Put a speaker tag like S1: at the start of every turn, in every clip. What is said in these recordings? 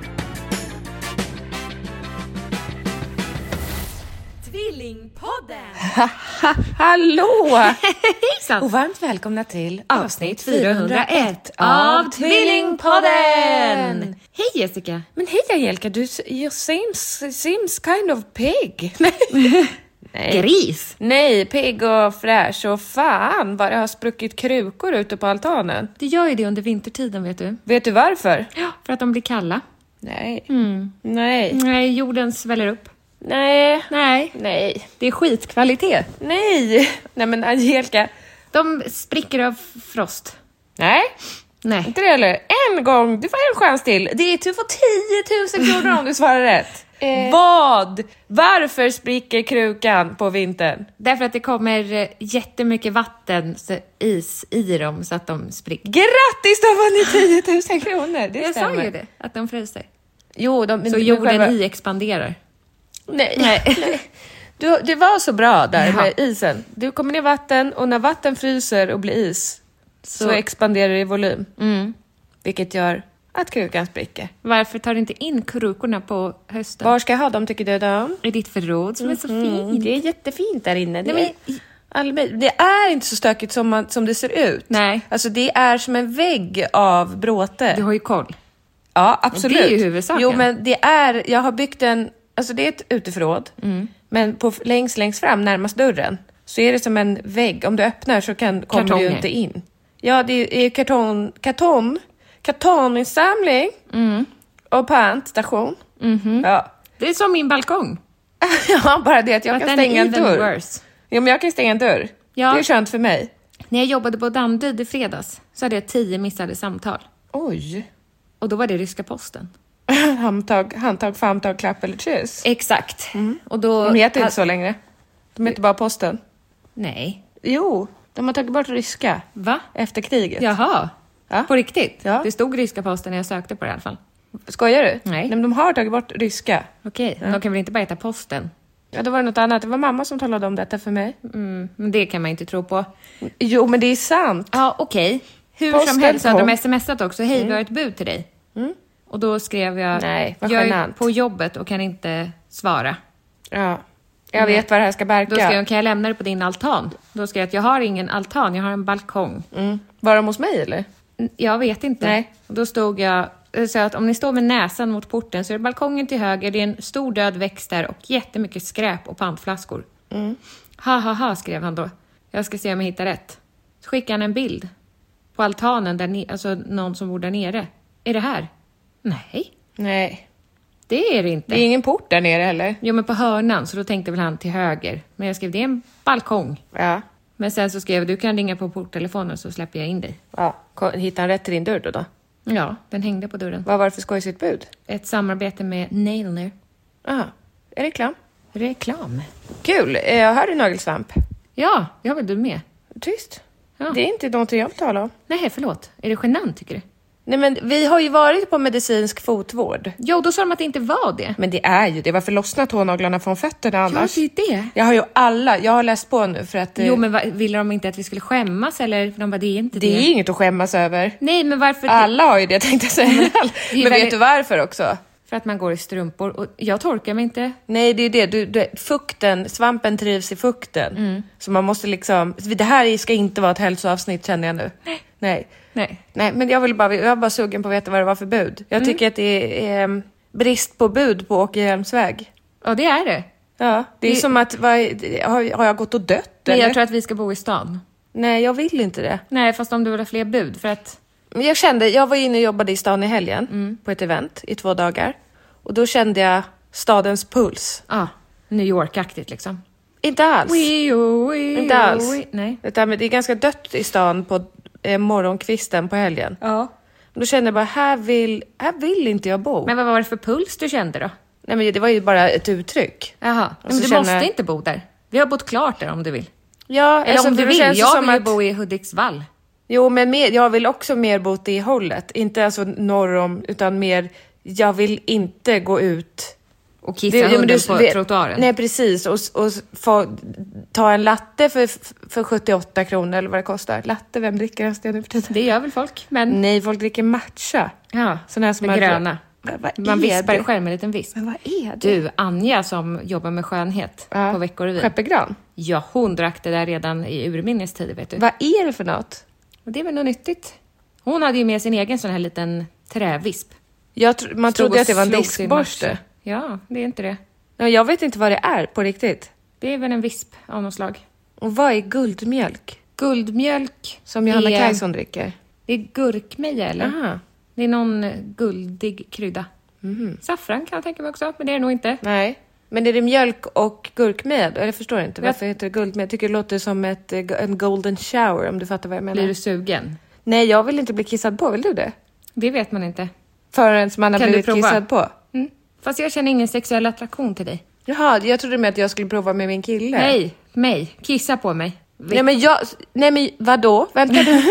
S1: Tvillingpodden!
S2: Ha, hallå!
S1: Hejsan!
S2: Och varmt välkomna till
S1: Avsnitt 401 av Tvillingpodden! Hej Jessica!
S2: Men hej Angelica, du s- you seems, seems kind of pig. Nej.
S1: Gris!
S2: Nej, pigg och fräsch och fan vad det har spruckit krukor ute på altanen.
S1: Det gör ju det under vintertiden vet du.
S2: Vet du varför?
S1: För att de blir kalla. Mm.
S2: Nej. Nej.
S1: Nej, jorden sväller upp.
S2: Nej.
S1: Nej,
S2: Nej.
S1: det är skitkvalitet.
S2: Nej. Nej men Angelica.
S1: De spricker av frost.
S2: Nej.
S1: Nej.
S2: Inte det heller. En gång, du får en chans till. Det är, du får 10 000 kronor om du svarar rätt.
S1: Eh.
S2: Vad? Varför spricker krukan på vintern?
S1: Därför att det kommer eh, jättemycket vatten, så is i dem så att de spricker.
S2: Grattis, du har vunnit 10 000 kronor! Det
S1: Jag
S2: stämmer.
S1: sa ju det, att de fryser.
S2: Jo, de, men-
S1: Så
S2: men
S1: jorden
S2: själva-
S1: i expanderar.
S2: Nej. nej. Du, det var så bra där med isen. Du kommer ner i vatten och när vatten fryser och blir is så,
S1: Så- Mm.
S2: expanderar det i volym. Vilket gör att krukan spricker.
S1: Varför tar du inte in krukorna på hösten?
S2: Var ska jag ha dem tycker du då?
S1: I ditt förråd som är så
S2: Mm,
S1: fint.
S2: det är jättefint där inne. Det,
S1: Nej,
S2: är, allmän- det är inte så stökigt som, man, som det ser ut.
S1: Nej.
S2: Alltså det är som en vägg av bråte.
S1: Du har ju koll.
S2: Ja, absolut.
S1: det är ju huvudsaken.
S2: Jo, men det är, jag har byggt en, alltså det är ett uteförråd,
S1: Mm.
S2: men på, längst, längst fram, närmast dörren, så är det som en vägg. Om du öppnar så kan, kommer du
S1: Kartonger.
S2: ju inte in. Ja, det är, är karton, karton, kartoninsamling
S1: Mm.
S2: och pantstation.
S1: Mm-hmm.
S2: Ja.
S1: Det är som min balkong.
S2: ja, bara det att jag
S1: But
S2: kan
S1: then
S2: stänga en
S1: even
S2: dörr.
S1: worse.
S2: Jo, men jag kan stänga en dörr.
S1: Ja.
S2: Det är skönt för mig.
S1: När jag jobbade på Danderyd i fredags så hade jag tio missade samtal.
S2: Oj.
S1: Och då var det ryska posten.
S2: handtag, handtag, famtag, klapp eller kyss.
S1: Exakt. Mm. Och då...
S2: De heter inte så längre. De heter bara posten.
S1: Nej.
S2: Jo, de har tagit bort ryska.
S1: Va?
S2: Efter kriget.
S1: Jaha.
S2: Ja.
S1: På riktigt?
S2: Ja.
S1: Det stod ryska posten när jag sökte på det i alla fall.
S2: Skojar du?
S1: Nej.
S2: men de har tagit bort ryska.
S1: Okej, men de kan väl inte bara heta posten?
S2: Ja, då var det något annat. Det var mamma som talade om detta för mig.
S1: Mm, men det kan man inte tro på.
S2: Jo, men det är sant.
S1: Ja, okej. Hur
S2: Posten
S1: som helst så hade
S2: kom. Mm.
S1: de smsat också. Hej, vi har ett bud till dig. Och då skrev jag,
S2: Nej, vad
S1: jag är
S2: genant."
S1: på jobbet och kan inte svara.
S2: Ja. Jag vet vad det här ska
S1: Då
S2: barka.
S1: skrev jag, kan jag lämna det på din altan? Då skrev jag att jag har ingen altan, jag har en balkong.
S2: mm. Var de hos mig eller?
S1: N- Jag vet inte.
S2: Nej.
S1: Och Då stod jag, eh, så att om ni står med näsan mot porten så är det balkongen till höger, det är en stor död växt där och jättemycket skräp och pantflaskor. Ha ha ha, skrev han då. Jag ska se om jag hittar rätt. Så skickade han en bild på altanen, där ne- alltså någon som bor där nere. Är det här? Nej,
S2: Nej.
S1: det är det inte.
S2: Det är ingen port där nere heller.
S1: Jo, men på hörnan, så då tänkte väl han till höger. Men jag skrev, det är en balkong.
S2: Ja.
S1: Men sen så skrev jag, du kan ringa på porttelefonen så släpper jag in dig.
S2: ja. Ko- Hittade han rätt till din dörr då? då?
S1: Ja, den hängde på dörren.
S2: Vad var det för skojsigt bud?
S1: Ett samarbete med Nailner.
S2: Aha. Ah, Är det reklam?
S1: Reklam.
S2: Kul! Eh, hör du nagelsvamp?
S1: Ja, det har väl du med?
S2: Tyst.
S1: Ja.
S2: Det är inte någonting jag vill tala om.
S1: Nej, förlåt. Är det genant tycker du?
S2: Nej, men vi har ju varit på medicinsk fotvård.
S1: Jo, då sa de att det inte var det.
S2: Men det är ju det. Varför lossnar tånaglarna från fötterna
S1: Ja,
S2: annars?
S1: det är det.
S2: Jag har ju alla, jag har läst på nu för att eh,
S1: Jo, men va, ville de inte att vi skulle skämmas eller? För de bara, det är inte det.
S2: det är inget att skämmas över.
S1: Nej, men varför?
S2: Alla har ju det tänkte jag säga. Men,
S1: ju
S2: men vet
S1: väldigt-
S2: du varför också?
S1: För att man går i strumpor. Och jag torkar mig inte.
S2: Nej, det är det. Du, du, fukten, svampen trivs i fukten.
S1: Mm.
S2: Så man måste liksom... Det här ska inte vara ett hälsoavsnitt känner jag nu. Nej. Nej.
S1: Nej.
S2: Nej, men jag vill bara, jag var bara sugen på att veta vad det var för bud.
S1: Mm.
S2: Jag tycker att det är eh, brist på bud på Åkerhielmsväg.
S1: Ja, det är det.
S2: Ja, det är
S1: Det-
S2: som att, vad, har, har jag gått och dött
S1: Men
S2: eller?
S1: jag tror att vi ska bo i stan.
S2: Nej, jag vill inte det.
S1: Nej, fast om du vill ha fler bud. För att
S2: Men jag kände, jag var inne och jobbade i stan i helgen
S1: Mm.
S2: på ett event i två dagar. Och då kände jag stadens puls.
S1: Ja, New York-aktigt liksom.
S2: Inte alls.
S1: Wee, oh, wee,
S2: Inte alls.
S1: oh, wee. Nej.
S2: Utan, men det är ganska dött i stan på eh, morgonkvisten på helgen.
S1: Ja.
S2: Då kände jag bara, här vill, här vill inte jag bo.
S1: Men vad var det för puls du kände då?
S2: Nej, men det var ju bara ett uttryck.
S1: Jaha.
S2: Och
S1: Men
S2: så
S1: du
S2: känner-
S1: måste inte bo där. Vi har bott klart där om du vill.
S2: Ja, alltså,
S1: Eller om
S2: för
S1: du
S2: det
S1: vill.
S2: känns ju
S1: Jag
S2: som
S1: vill ju
S2: att-
S1: bo i Hudiksvall.
S2: Jo, men mer, jag vill också mer bo åt det hållet. Inte alltså norr om, utan mer, jag vill inte gå ut.
S1: Och kissa hunden på
S2: vet-
S1: trottoaren.
S2: Nej, precis. Och, s- och s- få, ta en latte för, för 78 kronor eller vad det kostar. Latte, vem dricker ens det nu för tiden?
S1: Det gör väl folk, men...
S2: Nej, folk dricker matcha.
S1: Ja,
S2: Sån här som
S1: Mm. det
S2: har-
S1: gröna.
S2: Vad, vad
S1: Man
S2: är
S1: vispar
S2: det?
S1: i skärmen en liten visp.
S2: Men vad är det?
S1: Du, Anja som jobbar med skönhet
S2: Ja.
S1: på Veckorevyn.
S2: Skeppegran?
S1: Ja, hon drack det där redan i urminnes tider, vet du.
S2: Vad är det för något?
S1: Och det är väl något nyttigt. Hon hade ju med sin egen sån här liten trävisp.
S2: Jag tr- man
S1: Stod
S2: trodde
S1: och
S2: att det var en
S1: slog sin
S2: diskborste.
S1: matcha. Ja, det är inte det.
S2: Ja, jag vet inte vad det är på riktigt.
S1: Det är väl en visp av något slag.
S2: Och vad är guldmjölk?
S1: Guldmjölk. eh,
S2: Som Johanna
S1: är-
S2: Kajson dricker.
S1: Det är gurkmeja, eller?
S2: Aha. Mhm.
S1: Det är någon eh, guldig krydda. Saffran kan jag tänka mig också, men det är det nog inte.
S2: Nej. Men är det mjölk och gurkmeja? då? Eller förstår jag inte.
S1: Jag-
S2: Varför heter det guldmeja? Jag tycker det låter som ett, eh, en golden shower om du fattar vad jag menar.
S1: Blir du sugen?
S2: Nej, jag vill inte bli kissad på. Vill du det?
S1: Det vet man inte.
S2: Förrän man har
S1: Kan du
S2: blivit
S1: prova?
S2: kissad på.
S1: Mm. Fast jag känner ingen sexuell attraktion till dig.
S2: Jaha, jag trodde med att jag skulle prova med min kille.
S1: Nej, mig. Kissa på mig.
S2: Nej men jag, nej men vadå? Vänta nu.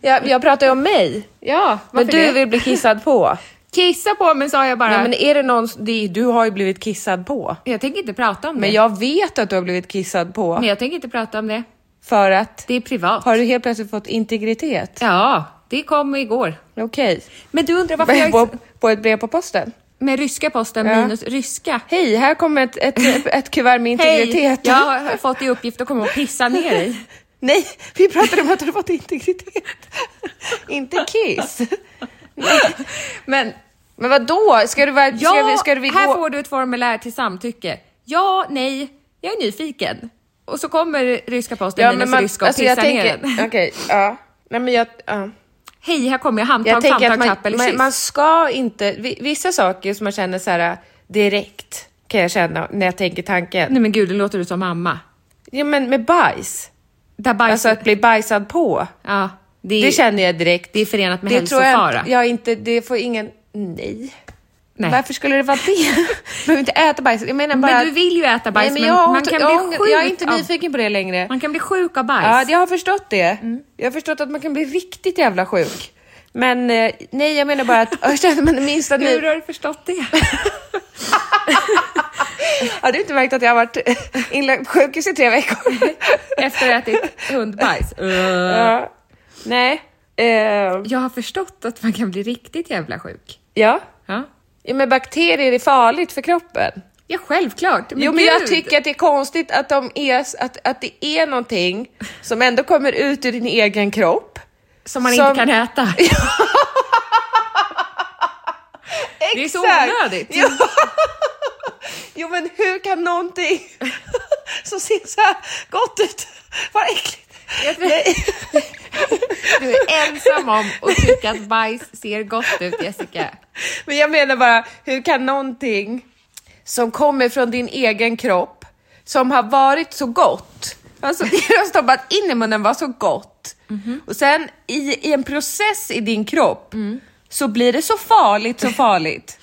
S2: jag, jag pratar ju om mig.
S1: Ja,
S2: Men
S1: varför
S2: du
S1: det?
S2: vill bli kissad på.
S1: Kissa på mig sa jag bara.
S2: Nej men är det någon, det, du har ju blivit kissad på.
S1: Jag tänker inte prata om det.
S2: Men jag vet att du har blivit kissad på.
S1: Men jag tänker inte prata om det.
S2: För att?
S1: Det är privat.
S2: Har du helt plötsligt fått integritet?
S1: Ja, det kom igår.
S2: Okej.
S1: Men du undrar varför jag...
S2: På, på ett brev på posten?
S1: Med ryska posten
S2: Ja.
S1: minus ryska.
S2: Hej, här kommer ett, ett, ett, kuvert med integritet.
S1: jag har fått i uppgift att komma och pissa ner dig.
S2: Nej, vi pratade om att du har fått integritet. Inte kiss.
S1: Men
S2: Men vad då? Ska du vara...
S1: ja,
S2: ska vi, ska vi
S1: här
S2: gå?
S1: får du ett formulär till samtycke. Ja, nej, jag är nyfiken. Och så kommer ryska posten
S2: ja,
S1: minus
S2: men man,
S1: ryska och
S2: alltså,
S1: pissar
S2: jag tänker,
S1: ner den.
S2: Okej, ja. Nej, men jag... ja.
S1: Hej, här kommer jag.
S2: Jag
S1: Handtag,
S2: tänker
S1: famntag,
S2: att man,
S1: klapp eller
S2: man, man
S1: kyss.
S2: ska inte... vi- Vissa saker som man känner så här äh, direkt kan jag känna när jag tänker tanken.
S1: Nej men gud, det låter du som mamma.
S2: Ja, men med bajs.
S1: Där bajs...
S2: Alltså att bli bajsad på.
S1: ja, det, är,
S2: Det känner jag direkt.
S1: det är förenat med
S2: det tror jag,
S1: hälsofara.
S2: inte- jag inte, det får ingen... Nej.
S1: Nej.
S2: Varför skulle det vara det? Du behöver inte äta bajs. Jag menar bara
S1: Men du
S2: att-
S1: vill ju äta
S2: Nej,
S1: bajs,
S2: men
S1: men
S2: jag, har-
S1: man kan
S2: jag,
S1: bli
S2: har-
S1: sjuk
S2: Jag är inte
S1: av-
S2: nyfiken på det längre.
S1: Man kan bli sjuk av bajs.
S2: Ja, det- jag har förstått det.
S1: Mm.
S2: Jag har förstått att man kan bli riktigt jävla sjuk. Men eh, nej, jag menar bara att jag känner man det minsta
S1: Hur
S2: nu.
S1: har du förstått det?
S2: Har du inte märkt att jag har varit inlagd på sjukhus i tre veckor?
S1: Efter att ha ätit hundbajs? Eh,
S2: ja. Nej. Eh,
S1: Jag har förstått att man kan bli riktigt jävla sjuk.
S2: ja.
S1: Ja,
S2: ja, men bakterier är farligt för kroppen.
S1: ja självklart. Men
S2: jo, men jag
S1: gud.
S2: tycker att det är konstigt att, de är, att, att det är någonting som ändå kommer ut ur din egen kropp.
S1: Som man
S2: som-
S1: inte kan äta. Det är så
S2: Exakt.
S1: onödigt.
S2: Jo. jo, men hur kan någonting som ser så här gott ut vara äckligt? Nej.
S1: Du är ensam om att tycka att bajs ser gott ut, Jessica.
S2: Men jag menar bara, hur kan någonting som kommer från din egen kropp, som har varit så gott, alltså det du har stoppat in i munnen var så gott, och sen i, i en process i din kropp så blir det så farligt, så farligt.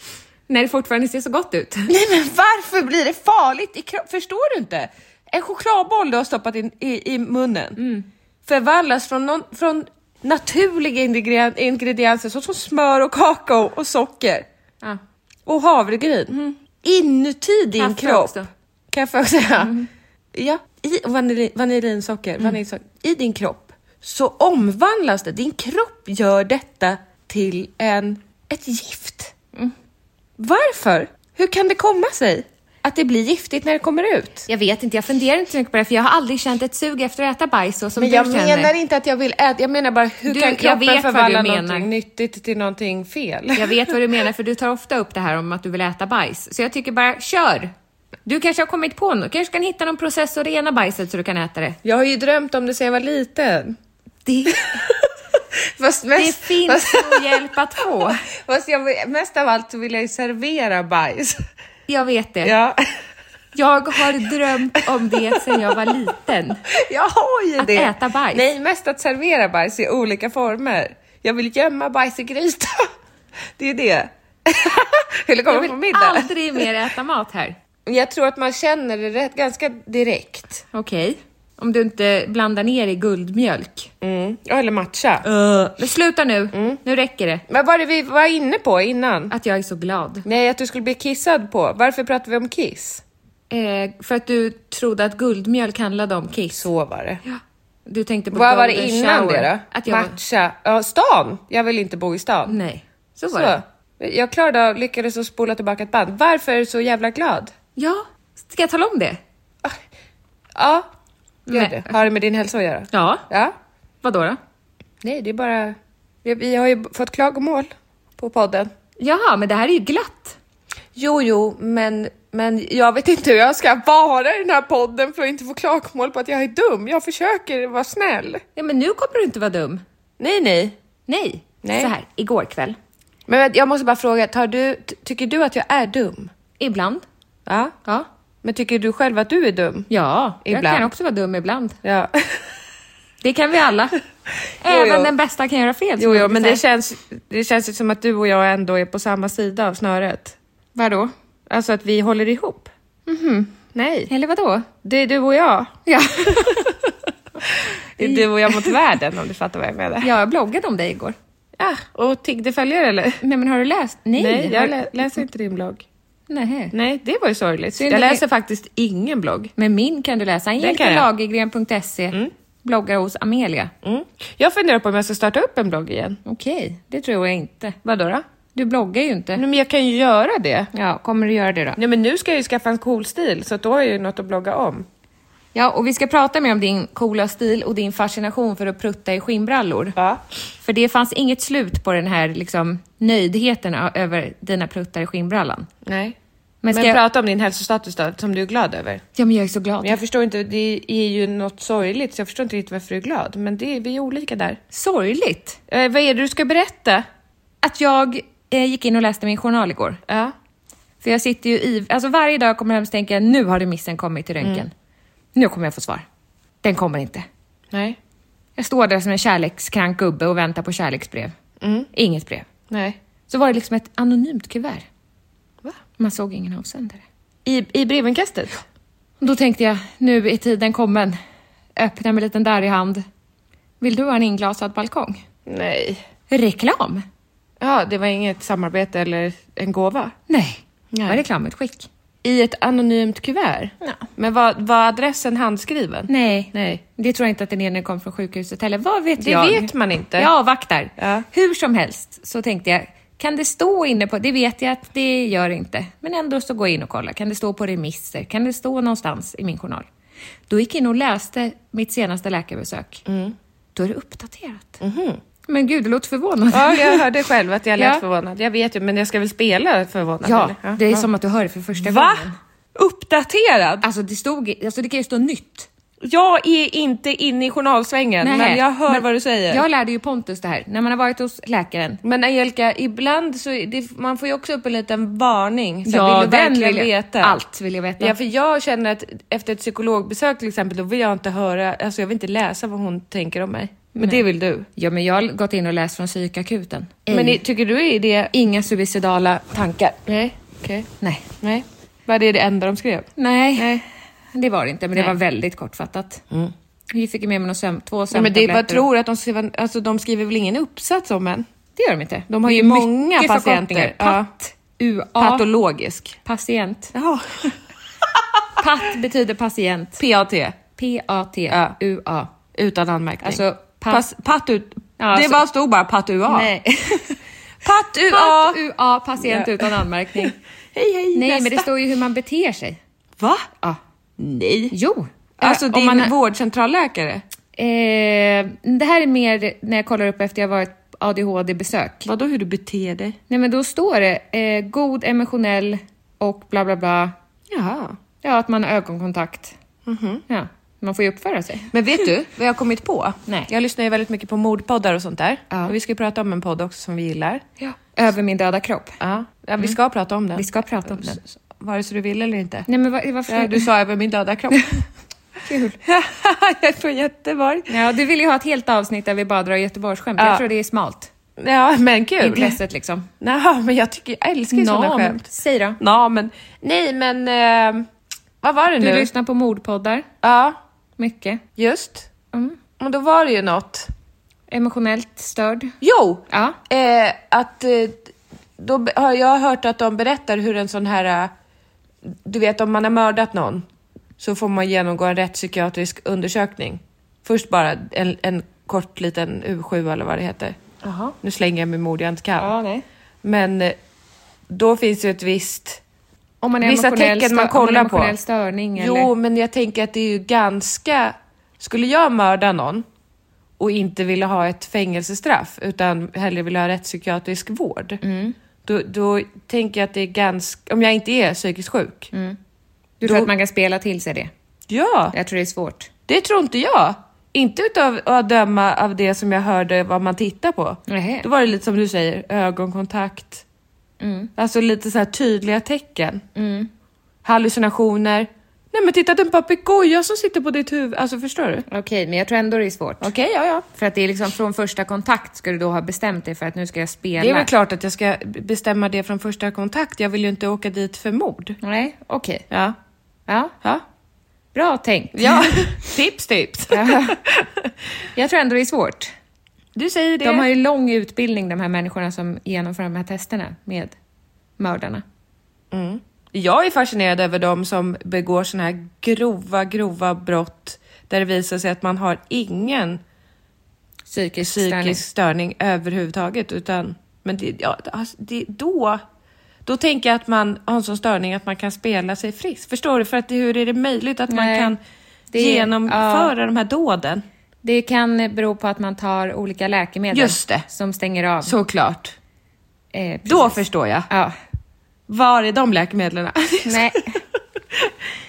S1: När det fortfarande ser så gott ut.
S2: Nej men varför blir det farligt i kroppen? Förstår du inte? En chokladboll du har stoppat in i, i munnen
S1: Mm.
S2: förvandlas från, någon, från naturliga ingredien- ingredienser såsom smör och kakao och socker
S1: Ja. Mm.
S2: och havregryn inuti din
S1: Kaffe
S2: kropp.
S1: också.
S2: Kaffe också. Mm. Ja, i och vanilin, vanilinsocker,
S1: Mm.
S2: vaniljsocker. I din kropp så omvandlas
S1: Mm.
S2: det. Din kropp gör detta till en, ett gift. Varför? Hur kan det komma sig att det blir giftigt när det kommer ut?
S1: Jag vet inte, jag funderar inte så mycket på det för jag har aldrig känt ett sug efter att äta bajs så som
S2: Men
S1: du
S2: jag
S1: känner.
S2: menar inte att jag vill äta, jag menar bara hur
S1: Du,
S2: kan
S1: jag
S2: kroppen
S1: vet vad du
S2: förvandla
S1: menar.
S2: någonting nyttigt till någonting fel?
S1: Jag vet vad du menar för du tar ofta upp det här om att du vill äta bajs. Så jag tycker bara, kör! Du kanske har kommit på något, kanske kan hitta någon process att rena bajset så du kan äta det.
S2: Jag har ju drömt om det sedan jag var liten.
S1: Det,
S2: Fast
S1: det
S2: mest,
S1: finns nog hjälp att få.
S2: fast jag, mest av allt så vill jag ju servera bajs.
S1: Jag vet det.
S2: Ja,
S1: Jag har drömt om det sedan jag var liten.
S2: jag har ju
S1: Att
S2: det.
S1: äta bajs.
S2: Nej, mest att servera bajs i olika former. Jag vill gömma bajs i gryta. Det är det. Vill du komma
S1: Jag
S2: på
S1: vill
S2: middag?
S1: aldrig mer äta mat här.
S2: Jag tror att man känner det rätt, ganska direkt.
S1: Okej. Om du inte blandar ner i guldmjölk.
S2: Mm. Ja, Eller matcha.
S1: Men sluta nu,
S2: Mm.
S1: nu räcker det.
S2: Vad var det vi var inne på innan?
S1: Att jag är så glad.
S2: Nej, att du skulle bli kissad på. Varför pratar vi om kiss?
S1: Eh, för att du trodde att guldmjölk handlade om kiss.
S2: Så var det.
S1: Du tänkte på
S2: Vad var det
S1: golden
S2: innan
S1: shower.
S2: det då?
S1: Att jag var...
S2: Matcha. Ja, stan. Jag vill inte bo i stan.
S1: Nej, så var
S2: Så.
S1: det.
S2: Jag klarade av, lyckades att spola tillbaka ett band. Varför är du så jävla glad? Ah.
S1: Ja, ska jag tala om det?
S2: Ja, gör
S1: Nej.
S2: det. Har det med din hälsa att göra?
S1: Ja,
S2: Ja.
S1: vadå då?
S2: Nej, det är bara... Vi, vi har ju fått klagomål på podden.
S1: Jaha, men det här är ju glatt.
S2: Jo, jo, men, men jag vet inte hur jag ska vara i den här podden för att inte få klagomål på att jag är dum. Jag försöker vara snäll.
S1: Ja, men nu kommer du inte vara dum.
S2: Nej, nej.
S1: Nej.
S2: Nej.
S1: Så här, igår kväll.
S2: Men vänta, jag måste bara fråga, tar du, ty- tycker du att jag är dum?
S1: Ibland.
S2: Ja.
S1: Ja.
S2: Men tycker du själv att du är dum?
S1: Ja, jag
S2: Ibland.
S1: kan också vara dum ibland.
S2: Ja.
S1: Det kan vi alla. Även den bästa kan göra fel. som
S2: Jo, jo,
S1: jag
S2: men
S1: brukar
S2: det
S1: säga.
S2: känns, det känns ju som att du och jag ändå är på samma sida av snöret.
S1: Vadå?
S2: Alltså att vi håller ihop. Nej,
S1: Eller vadå?
S2: det är du och jag.
S1: Ja.
S2: Det är du och jag mot världen om du fattar vad jag menar.
S1: Jag bloggade om dig igår.
S2: Ja, och tiggde följare eller?
S1: Nej, men har du läst? Nej.
S2: Nej,
S1: har...
S2: jag lä- läser inte din blogg.
S1: Nej.
S2: Nej, det var ju sorgligt.
S1: Synd
S2: jag
S1: att
S2: läser faktiskt ingen blogg.
S1: Men min kan Mm. du läsa.
S2: kan jag.
S1: Angelikalagergren.se. Bloggar hos Amelia.
S2: Mm. Jag funderar på om jag ska starta upp en blogg igen.
S1: Okej, det tror jag inte.
S2: Vadå då?
S1: Du bloggar ju inte.
S2: Nej, men jag kan ju göra det.
S1: Ja, kommer du göra det då?
S2: Nej, men nu ska jag ju skaffa en cool stil, så att då har jag ju något att blogga om.
S1: Ja, och vi ska prata mer om din coola stil och din fascination för att prutta i skinnbrallor.
S2: Ja.
S1: För det fanns inget slut på den här liksom, nöjdheten ö- över dina pruttar i skinnbrallan.
S2: Nej.
S1: Men
S2: Men,
S1: ska jag-
S2: prata om din hälsostatus då, som du är glad över.
S1: Ja, men jag är så glad.
S2: Men jag förstår inte, det är ju något sorgligt, så jag förstår inte riktigt varför du är glad. Men det, vi är olika där.
S1: Sorgligt
S2: Eh, vad är det du ska berätta?
S1: att jag eh, gick in och läste min journal igår.
S2: Ja.
S1: För jag sitter ju i... Alltså varje dag jag kommer hem så tänker jag, nu har remissen kommit till röntgen. Nu kommer jag få svar. Den kommer inte.
S2: Nej.
S1: Jag står där som en kärlekskrank gubbe och väntar på kärleksbrev. Inget brev.
S2: Nej.
S1: Så var det liksom ett anonymt kuvert.
S2: Va?
S1: Man såg ingen avsändare.
S2: I, i brevinkastet?
S1: Och Då tänkte jag, nu är tiden kommen. Öppna med liten där i hand. Vill du ha en inglasad balkong?
S2: Nej.
S1: Reklam?
S2: Ja, det var inget samarbete eller en gåva?
S1: Nej,
S2: Nej.
S1: det var reklamutskick.
S2: I ett anonymt kuvert?
S1: Ja.
S2: Men var, var adressen handskriven?
S1: Nej.
S2: Nej.
S1: det tror jag inte att den ena kom från sjukhuset heller. Vad vet
S2: Det
S1: jag?
S2: vet man inte.
S1: Jag avvaktar.
S2: Ja.
S1: Hur som helst så tänkte jag, kan det stå inne på, det vet jag att det gör inte, men ändå så går jag in och kollar. Kan det stå på remisser? Kan det stå någonstans i min journal? Då gick jag in och läste mitt senaste läkarbesök.
S2: Mm.
S1: Då är det uppdaterat. Men gud, det låter förvånad.
S2: Mhm. Ja, jag hörde själv att jag lät
S1: Ja.
S2: förvånad. Jag vet ju, men jag ska väl spela förvånad?
S1: Ja,
S2: eller?
S1: det är som att du hör det för första
S2: Va?
S1: gången.
S2: Uppdaterad?
S1: Alltså det, stod, alltså det kan ju stå nytt.
S2: Jag är inte inne i journalsvängen, men
S1: Nähä.
S2: jag hör
S1: Men
S2: vad du säger.
S1: Jag lärde ju Pontus det här, när man har varit hos läkaren.
S2: Men Angelica, ibland så är det, man får ju också upp en liten varning. Så
S1: Ja,
S2: vill du
S1: den
S2: verkligen
S1: vill jag-
S2: veta?
S1: allt vill jag veta.
S2: Ja, för jag känner att efter ett psykologbesök till exempel, då vill jag inte höra, alltså jag vill inte läsa vad hon tänker om mig. Men det vill du.
S1: Ja, men jag har gått in och läst från psykakuten.
S2: Men
S1: Ej.
S2: i- tycker du är det...
S1: Inga suicidala tankar.
S2: Nej, okej.
S1: Nej.
S2: Nej. Var det det enda de skrev?
S1: Nej. Det var det inte, men det
S2: Nej. Mm.
S1: var väldigt kortfattat. Vi fick ju med mig någon sömn, två
S2: Nej, men det, vad
S1: sömntabletter.
S2: tror du att de skriver, alltså de skriver väl ingen uppsats om en?
S1: det gör de inte.
S2: De har
S1: Det är
S2: ju många
S1: mycket
S2: patienter.
S1: förkortningar.
S2: Ja.
S1: Pat, UA,
S2: Patologisk.
S1: patient.
S2: Ja.
S1: Pat betyder patient.
S2: PAT.
S1: P-A-T,
S2: Ja.
S1: UA.
S2: Utan anmärkning.
S1: Alltså, pat-
S2: Pass, patt ut.
S1: Ja,
S2: det
S1: så-
S2: bara stod bara patt UA.
S1: Nej.
S2: Patt UA!
S1: Pat UA, patient utan anmärkning.
S2: Hej hej,
S1: Nej,
S2: nästa.
S1: men det står ju hur man beter sig.
S2: Va?
S1: Ja.
S2: Nej.
S1: Jo.
S2: Alltså
S1: Eh,
S2: din
S1: man,
S2: vårdcentralläkare?
S1: eh, det här är mer när jag kollar upp efter jag varit ADHD-besök.
S2: Vadå hur du beter dig?
S1: Nej, men då står det eh, god emotionell och bla bla bla.
S2: Jaha.
S1: Ja, att man har ögonkontakt.
S2: Mhm.
S1: Ja, man får ju uppföra sig.
S2: Men vet du vad jag har kommit på?
S1: Nej.
S2: Jag lyssnar ju väldigt mycket på mordpoddar och sånt där.
S1: Ja.
S2: Och vi ska ju prata om en podd också som vi gillar.
S1: Ja. Över min döda kropp. Mm.
S2: Ja, ja Mm. vi ska prata om den.
S1: Vi ska prata om den.
S2: S- Vare sig du vill eller inte.
S1: Nej, men va- varför?
S2: Ja, du sa över min döda kropp.
S1: Kul.
S2: jag är från Göteborg.
S1: Ja, du vill ju ha ett helt avsnitt där vi bara drar Göteborgsskämt. Jag
S2: Ja.
S1: tror det är smalt.
S2: Ja, men kul.
S1: Intresset liksom.
S2: Nej, men jag tycker jag älskar ju sådana
S1: Nam.
S2: skämt.
S1: Säg då.
S2: Ja, men nej, men eh, vad var det
S1: Du
S2: nu?
S1: lyssnar på mordpoddar.
S2: Ja,
S1: Mycket.
S2: just.
S1: Mm.
S2: Men då var det ju något.
S1: Emotionellt störd.
S2: Jo,
S1: Ja.
S2: eh, att eh, då be- har jag hört att de berättar hur en sån här, eh, du vet om man har mördat någon så får man genomgå en rättspsykiatrisk undersökning. Först bara en, en kort liten U7 eller vad det heter.
S1: Jaha.
S2: Nu slänger jag mig med ord jag inte kan.
S1: Ja, nej.
S2: Men eh, då finns ju ett visst
S1: Om man är
S2: Vissa
S1: emotionell
S2: tecken
S1: stö-
S2: man
S1: om är
S2: kollar på.
S1: emotionell störning eller?
S2: Jo, men jag tänker att det är ju ganska... Skulle jag mörda någon och inte vilja ha ett fängelsestraff utan hellre vilja ha rättspsykiatrisk vård. Då, då tänker jag att det är ganska... Om jag inte är psykiskt sjuk.
S1: Du tror
S2: då-
S1: att man kan spela till sig det?
S2: Ja,
S1: Jag tror det är svårt.
S2: det tror inte jag. Inte utav att döma av det som jag hörde vad man tittar på.
S1: Nähä.
S2: Då var det lite som du säger, ögonkontakt.
S1: Mm.
S2: Alltså lite så här tydliga tecken. Hallucinationer. Nej men titta det är en papegoja som sitter på ditt huvud. Alltså förstår du?
S1: Okej, men jag tror ändå det är svårt.
S2: Okej, ja ja.
S1: För att det är liksom från första kontakt ska du då ha bestämt dig för att nu ska jag spela.
S2: Det är väl klart att jag ska b- bestämma det från första kontakt. Jag vill ju inte åka dit för mord.
S1: Nej, okej.
S2: Ja.
S1: Ja,
S2: Ja.
S1: bra tänkt.
S2: ja. tips, tips.
S1: Ja. jag tror ändå det är svårt.
S2: Du säger det.
S1: De har ju lång utbildning de här människorna som genomför de här testerna med mördarna.
S2: Jag är fascinerad över de som begår såna här grova, grova brott där det visar sig att man har ingen
S1: Psykisk, störning.
S2: psykisk störning överhuvudtaget. Utan, men det, ja, alltså, det, då, då tänker jag att man har en sån störning att man kan spela sig frisk. Förstår du? För att det, hur är det möjligt att man
S1: Nej,
S2: kan
S1: det-
S2: genomföra de här dåden?
S1: Det kan eh, bero på att man tar olika läkemedel
S2: Just det.
S1: som stänger av.
S2: Såklart.
S1: eh, precis.
S2: Då förstår jag.
S1: Ja.
S2: Var är de läkemedlen?
S1: Nej.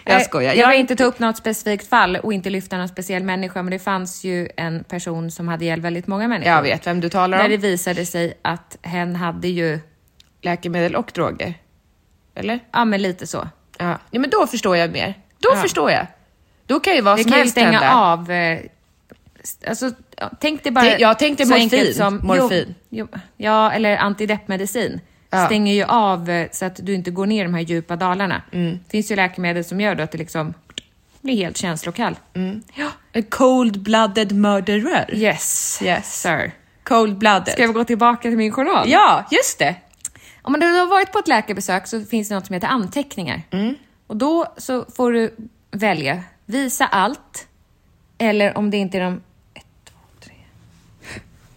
S2: jag
S1: Eh,
S2: skojar.
S1: Jag
S2: Jag
S1: vill
S2: är
S1: inte ta upp något specifikt fall och inte lyfta någon speciell människa, men det fanns ju en person som hade hjälpt väldigt många människor.
S2: Jag vet vem du talar
S1: När
S2: om.
S1: det visade sig att hen hade ju,
S2: Läkemedel och droger. Eller?
S1: ja men lite så.
S2: Ja. ja, men då förstår jag mer. Då förstår jag. Då kan ju vad
S1: Det
S2: som
S1: kan ju
S2: helst
S1: stänga
S2: hända.
S1: av. eh, st- Alltså, ja, tänk dig bara...
S2: Det- jag tänkte
S1: så
S2: morfin.
S1: enkelt
S2: Morfin.
S1: Jo, jo, ja, eller antideppmedicin.
S2: Ja.
S1: Stänger ju av eh, så att du inte går ner i de här djupa dalarna.
S2: Mm.
S1: Det finns ju läkemedel som gör då att det liksom blir helt känslokall.
S2: Mm.
S1: Ja.
S2: A cold-blooded murderer.
S1: Yes.
S2: Yes.
S1: Sir.
S2: Cold-blooded.
S1: Ska jag gå tillbaka till min journal?
S2: Ja, just det.
S1: Om man då har varit på ett läkarbesök så finns det något som heter anteckningar. Och då så får du välja, visa allt, eller om det inte är de... Ett, två, tre...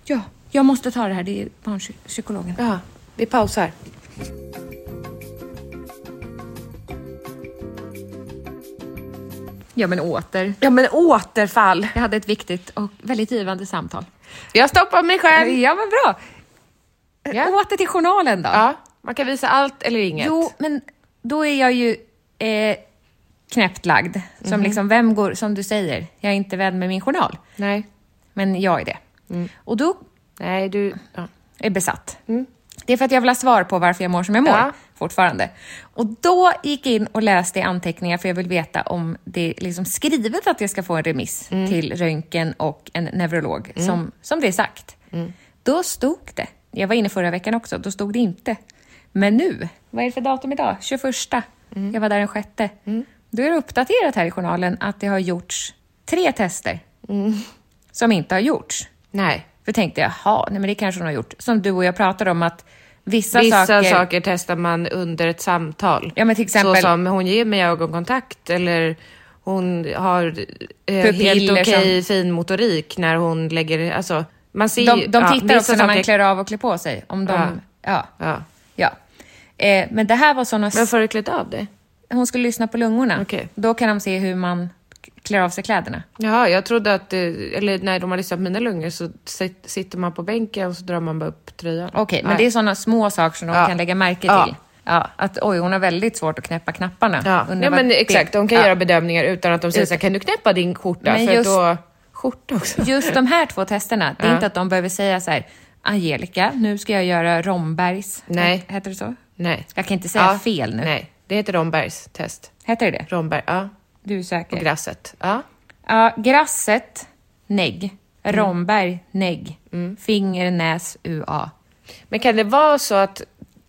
S1: Ja, jag måste ta det här, det är barnpsykologen.
S2: Ja, vi pausar.
S1: Ja, men åter.
S2: Ja, men återfall.
S1: Jag hade ett viktigt och väldigt givande samtal.
S2: Jag stoppar mig själv.
S1: Ja, men bra!
S2: Ja.
S1: Åter till journalen då.
S2: Ja, man kan visa allt eller inget.
S1: Jo, men då är jag ju eh, knäppt lagd. Som liksom, vem går, som du säger, jag är inte vän med min journal.
S2: Nej.
S1: Men jag är det. Och då
S2: Nej, du... Ja.
S1: är besatt. Det är för att jag vill ha svar på varför jag mår som jag mår
S2: Ja.
S1: fortfarande. Och då gick jag in och läste i anteckningar för jag vill veta om det är liksom skrivet att jag ska få en remiss till röntgen och en neurolog, som, som det är sagt. Då stod det, jag var inne förra veckan också, då stod det inte. Men nu, vad är det för datum idag? 21. Jag var där den 6. Då är det uppdaterat här i journalen att det har gjorts tre tester som inte har gjorts.
S2: Nej.
S1: För tänkte jag, jaha, nej men det kanske hon har gjort. Som du och jag pratade om att vissa,
S2: Vissa
S1: saker...
S2: saker... testar man under ett samtal.
S1: Ja, men till exempel-
S2: Så som hon ger mig ögonkontakt eller hon har eh, helt
S1: Pupiller
S2: okej
S1: som-
S2: fin motorik när hon lägger... Alltså, man ser
S1: De,
S2: ju-
S1: de
S2: ja,
S1: tittar
S2: vissa
S1: också när man
S2: saker-
S1: klär av och klär på sig. Om de
S2: Ja.
S1: Ja.
S2: Ja.
S1: ja. Eh, men det här var såna...
S2: Men får du klätt av dig?
S1: Hon skulle lyssna på lungorna.
S2: Okej.
S1: Då kan de se hur man k- klär av sig kläderna.
S2: Jaha, jag trodde att, eh, eller när de har lyssnat på mina lungor så sit- sitter man på bänken och så drar man bara upp tröjan.
S1: Okej, men det är sådana små saker som de
S2: Ja.
S1: kan lägga märke
S2: Ja.
S1: till. Ja, att oj, hon har väldigt svårt att knäppa knapparna.
S2: Ja,
S1: Undrar
S2: Nej,
S1: vad
S2: men
S1: det-
S2: exakt. De kan
S1: Ja.
S2: göra bedömningar utan att de säger
S1: Ut-
S2: så här, kan du knäppa din skjorta?
S1: Men
S2: För
S1: just-
S2: att då... Skjorta också?
S1: Just de här två testerna, det är
S2: Ja.
S1: inte att de behöver säga så här, Angelica, nu ska jag göra Rombergs.
S2: Nej.
S1: Heter det så?
S2: Nej.
S1: Jag kan inte säga fel nu.
S2: Nej, det heter Rombergs test.
S1: Heter det det?
S2: Romberg, ja.
S1: Du är
S2: Och
S1: säker?
S2: grasset, ja.
S1: Ja, grasset, negg.
S2: Mm.
S1: Romberg, negg. Finger, näs, UA.
S2: Men kan det vara så att...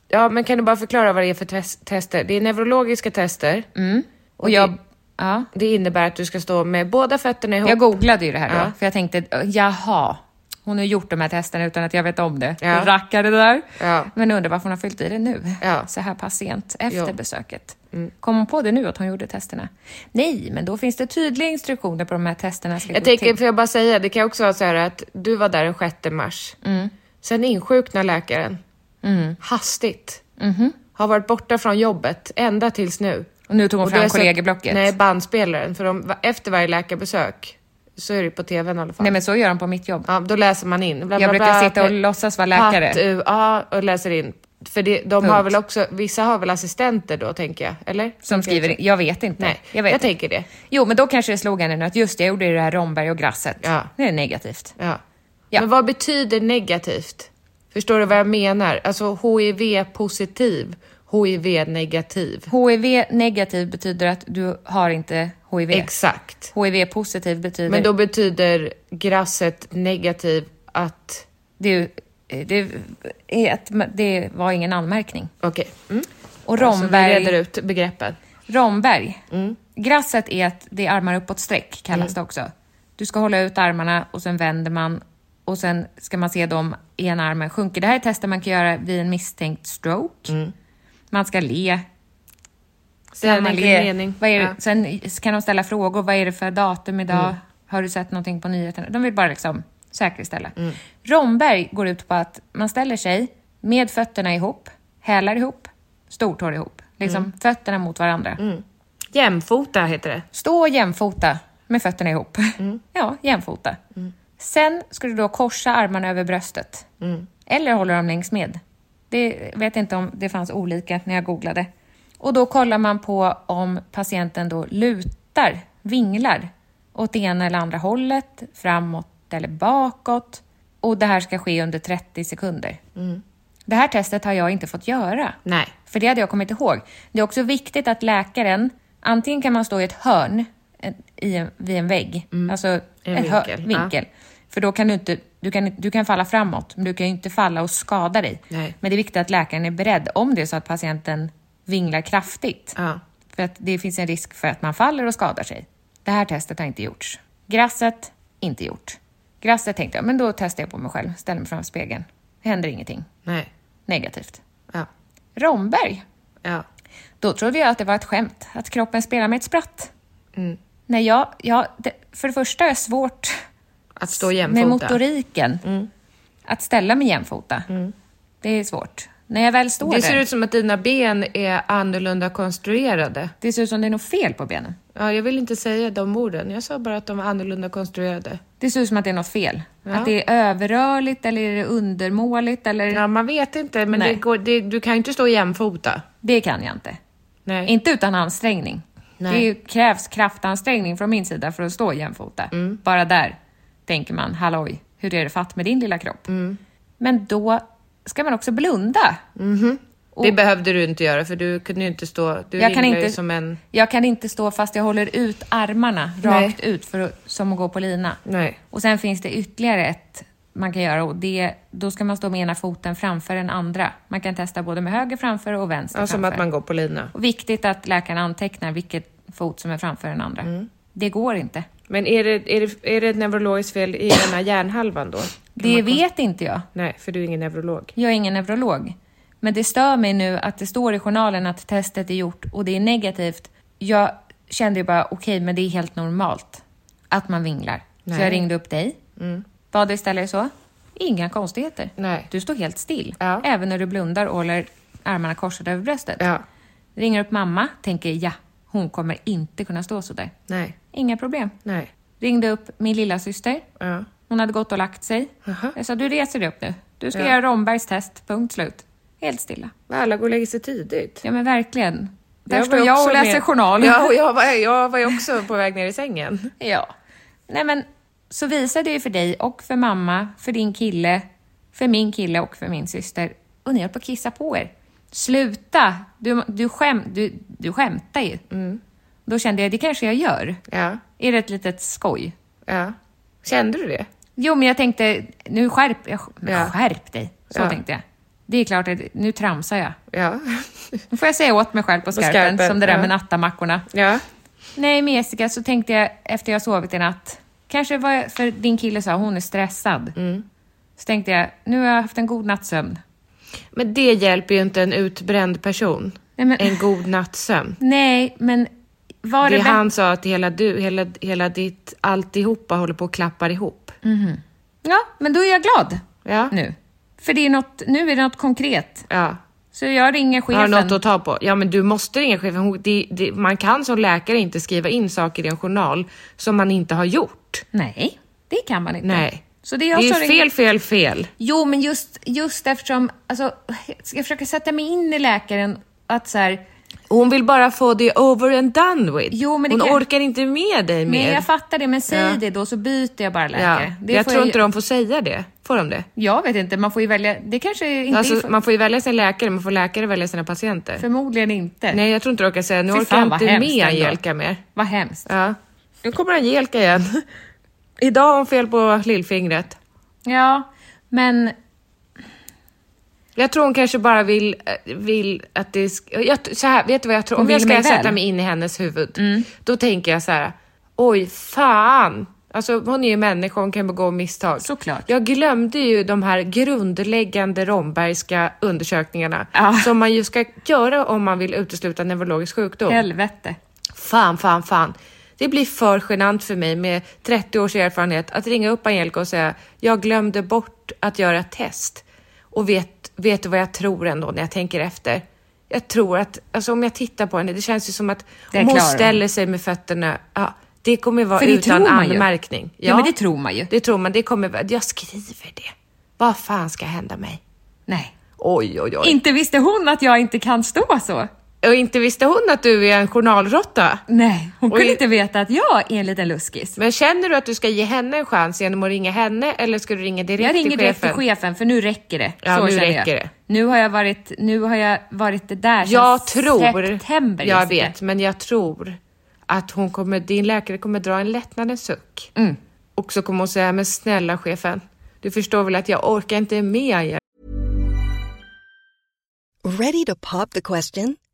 S2: Ja, men kan du bara förklara vad det är för tes- tester? Det är neurologiska tester.
S1: Mm. Och jag, ja,
S2: Det innebär att du ska stå med båda fötterna ihop.
S1: jag googlade ju det här då,
S2: Ja.
S1: för jag tänkte, ö, jaha, hon har gjort de här testerna utan att jag vet om det.
S2: Ja.
S1: Rackare där.
S2: Ja.
S1: Men undrar varför hon har fyllt i det nu,
S2: Ja.
S1: så här pass sent efter
S2: Ja. Mm.
S1: besöket. Kom hon på det nu att hon gjorde testerna? Nej, men då finns det tydliga instruktioner på de här testerna ska
S2: Jag
S1: gå
S2: tänker,
S1: till.
S2: får jag bara säga, det kan också vara så här att du var där den 6 mars.
S1: Mm.
S2: Sen insjuknar läkaren. Hastigt. Har varit borta från jobbet ända tills nu.
S1: Mhm. Och nu tog hon
S2: Och då
S1: fram
S2: har jag sett-
S1: kollegieblocket.
S2: Nej,
S1: Nej.
S2: bandspelaren. För de, efter varje läkarbesök så är det på tvn i alla fall.
S1: men så gör de på mitt jobb.
S2: ja, då läser man in. Bla,
S1: Jag brukar sitta och låtsas vara läkare.
S2: Patt, u, ja, och läser in. För det, de har
S1: Punkt.
S2: väl också, vissa har väl assistenter då, tänker jag? Eller?
S1: Som skriver in. Jag vet inte.
S2: Nej,
S1: jag, vet
S2: jag
S1: inte.
S2: tänker det.
S1: Jo, men då kanske det slog henne nu att just det, jag gjorde ju det här Romberg och grasset.
S2: Ja.
S1: Det är negativt.
S2: Ja.
S1: Ja.
S2: Men vad betyder negativt? Förstår du vad jag menar? Alltså HIV-positiv, HIV-negativ.
S1: HIV negativ betyder att du har inte HIV.
S2: Exakt.
S1: HIV positiv betyder...
S2: Men då betyder grasset negativ att...
S1: det, är ju- eh, det, är att, det var ingen anmärkning.
S2: Okej. Mm.
S1: Och
S2: Så vi reder
S1: Romberg...
S2: ut begreppen.
S1: Romberg.
S2: Mm.
S1: Grasset är att det är armar uppåt streck, kallas det också. Du ska hålla ut armarna och sen vänder man och sen ska man se dem ena armen sjunker. Det här är tester man kan göra vid en misstänkt stroke.
S2: Mm.
S1: Man ska le,
S2: Sen
S1: man
S2: är
S1: le.
S2: det mening.
S1: Vad är det?
S2: Ja. Mm.
S1: Sen kan de ställa frågor. Vad är det för datum idag? Har du sett någonting på nyheterna? De vill bara liksom säkerställa.
S2: Mm.
S1: Romberg går ut på att man ställer sig med fötterna ihop, hälar ihop, stortår ihop. Liksom
S2: Mm.
S1: fötterna mot varandra.
S2: Jämfota heter det.
S1: Stå jämfota med fötterna ihop. Ja, jämfota. Sen ska du då korsa armarna över bröstet. Eller hålla dem längs med. Det vet inte om det fanns olika när jag googlade. Och då kollar man på om patienten då lutar, vinglar åt det ena eller andra hållet, framåt eller bakåt. Och det här ska ske under 30 sekunder. Det här testet har jag inte fått göra.
S2: Nej.
S1: För det hade jag kommit ihåg. Det är också viktigt att läkaren, antingen kan man stå i ett hörn en- i en, vid en vägg, alltså en hör-
S2: Mm. vinkel, ja.
S1: vinkel. För då kan du inte, du kan, du kan falla framåt, men du kan ju inte falla och skada dig.
S2: Nej.
S1: Men det är viktigt att läkaren är beredd om det är så att patienten vinglar kraftigt.
S2: Ja.
S1: För att det finns en risk för att man faller och skadar sig. Det här testet har inte gjorts. Grasset, inte gjort. Grasset tänkte jag, men då testar jag på mig själv, ställer mig framför spegeln. Händer ingenting.
S2: Nej.
S1: Negativt.
S2: Ja.
S1: Romberg
S2: Ja.
S1: då trodde jag att det var ett skämt, att kroppen spelar med ett spratt.
S2: Mm.
S1: Nej, jag, jag, det, för det första är jag svårt
S2: Att stå
S1: med
S2: jämfota. Mm.
S1: motoriken. Att ställa mig jämfota. Det är svårt. När jag väl står
S2: Det ser
S1: där,
S2: ut som att dina ben är annorlunda konstruerade.
S1: det ser ut som det är något fel på benen.
S2: Ja, jag vill inte säga de orden. Jag sa bara att de var annorlunda konstruerade.
S1: Det ser ut som att det är något fel. Att det är överrörligt eller är det undermåligt eller...
S2: Ja, man vet inte, men
S1: Nej.
S2: det går, det, du kan ju inte stå jämfota.
S1: Det kan jag inte.
S2: Nej.
S1: Inte utan ansträngning.
S2: Nej.
S1: Det är- krävs kraftansträngning från min sida för att stå jämfota.
S2: Mm.
S1: Bara där tänker man, halloj, hur är det fatt med din lilla kropp?
S2: Mm.
S1: Men då ska man också blunda.
S2: det behövde du inte göra, för du kunde ju inte stå... Du
S1: Jag kan,
S2: vinglar ju
S1: inte,
S2: som en...
S1: jag kan inte stå fast jag håller ut armarna
S2: Nej.
S1: rakt ut för att, som att gå på lina.
S2: Nej.
S1: Och sen finns det ytterligare ett man kan göra och det, då ska man stå med ena foten framför den andra. Man kan testa både med höger framför och vänster
S2: Ja, som
S1: framför.
S2: att man går på lina.
S1: Och viktigt att läkaren antecknar vilket fot som är framför den andra.
S2: Mm.
S1: Det går inte.
S2: Men är det, är det, är det ett neurologiskt fel i den här hjärnhalvan då?
S1: Det vet inte jag.
S2: Nej, för du är ingen neurolog.
S1: Jag är ingen neurolog. Men det stör mig nu att det står i journalen att testet är gjort och det är negativt. Jag kände ju bara, okej, men det är helt normalt att man vinglar. Så
S2: Nej. Mm.
S1: jag ringde upp dig. Bad dig ställa dig så. Inga konstigheter.
S2: Nej.
S1: Du står helt still.
S2: Ja.
S1: Även när du blundar och håller armarna korsade över bröstet.
S2: Ja.
S1: Ringer upp mamma, tänker ja, hon kommer inte kunna stå så där.
S2: Nej.
S1: Inga problem.
S2: Nej.
S1: Ringde upp min lilla syster.
S2: Ja.
S1: Hon hade gått och lagt sig.
S2: Aha.
S1: Jag sa, du reser dig upp nu. Du ska
S2: Ja.
S1: göra Rombergs test, punkt slut. Helt stilla.
S2: Alla går och lägger sig tidigt.
S1: Ja men verkligen. Där står
S2: var ju
S1: jag
S2: också
S1: och läser
S2: med-
S1: journal.
S2: Ja, och jag var, jag var ju också på väg ner i sängen.
S1: Ja. Nej men, så visade jag ju för dig och för mamma, för din kille, för min kille och för min syster. Och ni höll på att kissa på er. Sluta! Du, du, skäm, du, du skämtar ju.
S2: Mm.
S1: Då kände jag, det kanske jag gör.
S2: Ja,
S1: Är det ett litet skoj?
S2: ja. Kände du det?
S1: Jo, men jag tänkte, nu skärp, jag, men
S2: Ja.
S1: skärp dig. Så
S2: Ja.
S1: tänkte jag. Det är klart, att nu tramsar jag.
S2: Ja.
S1: Nu får jag säga åt mig själv på skarpen,
S2: skarpen,
S1: som det där
S2: ja.
S1: med nattamackorna.
S2: Ja.
S1: Nej, med Jessica så tänkte jag efter jag sovit i natt. Kanske var jag, för din kille sa hon är stressad.
S2: Mm.
S1: Så tänkte jag, nu har jag haft en god nattsömn.
S2: Men det hjälper ju inte en utbränd person.
S1: Nej, men-
S2: En god nattsömn.
S1: Nej, men var det,
S2: Det
S1: bättre?
S2: han sa att hela du, hela, hela ditt alltihopa håller på och klappar ihop.
S1: Ja, men då är jag glad
S2: Ja.
S1: Mm. nu. För det är något, nu är det något konkret.
S2: Ja.
S1: Så jag ringer
S2: Har
S1: chefen.
S2: du något att ta på? Ja, men du måste ringa chefen. Hon- Det, det, man kan som läkare inte skriva in saker i en journal som man inte har gjort.
S1: Nej, det kan man inte.
S2: Nej.
S1: Så det är jag
S2: det
S1: som
S2: är ju
S1: ringer-
S2: fel, fel, fel.
S1: Jo, men just, just eftersom, alltså, ska jag försöka sätta mig in i läkaren att så här,
S2: Och Hon vill bara få det over and done with.
S1: Jo, men det
S2: Hon
S1: kan-
S2: orkar inte med dig mer.
S1: men jag fattar det, men säg
S2: Ja.
S1: det då så byter jag bara läkare.
S2: ja.
S1: Det
S2: Jag
S1: får
S2: tror inte de får säga det. Får de det?
S1: Jag vet inte, man får ju välja. Det kanske inte är
S2: Alltså,
S1: för,
S2: man får ju välja sin läkare, men får läkare välja sina patienter?
S1: Förmodligen inte.
S2: Nej, jag tror inte de kan säga nu
S1: Fy
S2: orkar
S1: fan,
S2: jag
S1: vad
S2: inte
S1: hemskt
S2: med
S1: ändå.
S2: Angelica mer.
S1: Vad hemskt.
S2: Ja. Nu kommer Angelica igen. Idag har hon fel på lillfingret.
S1: Ja, men
S2: Jag tror hon kanske bara vill, eh, vill att det ska... Jag, så här, vet du vad jag tror?
S1: Hon
S2: Om jag
S1: vill
S2: ska
S1: mig väl. Mm.
S2: sätta mig in i hennes huvud, då tänker jag så här, oj fan! Alltså hon är ju människa, hon kan begå misstag.
S1: Såklart.
S2: Jag glömde ju de här grundläggande Rombergska undersökningarna
S1: Ja.
S2: som man ju ska göra om man vill utesluta neurologisk sjukdom.
S1: helvete.
S2: Fan, fan, fan. Det blir för genant för mig med 30 års erfarenhet att ringa upp Angelica och säga jag glömde bort att göra ett test. Och vet, vet du vad jag tror ändå när jag tänker efter? Jag tror att, alltså om jag tittar på henne, det känns ju som att
S1: Det
S2: om hon
S1: klarar hon.
S2: ställer sig med fötterna, ja, det kommer vara
S1: För det
S2: utan
S1: tror man ju.
S2: anmärkning.
S1: Ja, men det tror man ju.
S2: Det tror man, det kommer, vara- jag skriver det. Vad fan ska hända mig?
S1: Nej.
S2: Oj, oj, oj.
S1: Inte visste hon att jag inte kan stå så.
S2: och inte visste hon att du är en journalrotta?
S1: Nej, hon
S2: Och
S1: kunde
S2: i-
S1: inte veta att jag är en liten luskis.
S2: Men känner du att du ska ge henne en chans genom att ringa henne eller ska du ringa direkt
S1: Jag ringer
S2: till
S1: direkt
S2: chefen?
S1: till chefen för nu räcker det.
S2: Ja,
S1: så
S2: nu
S1: känner
S2: räcker
S1: jag.
S2: det.
S1: Nu har jag varit, nu har jag varit det där sedan
S2: Jag tror...
S1: september.
S2: jag
S1: Jessica.
S2: vet, men jag tror att hon kommer, din läkare kommer dra en lättnadens suck.
S1: Mm.
S2: Och så kommer hon säga, men snälla chefen, du förstår väl att jag orkar inte med Angelica.
S3: Ready to pop the question?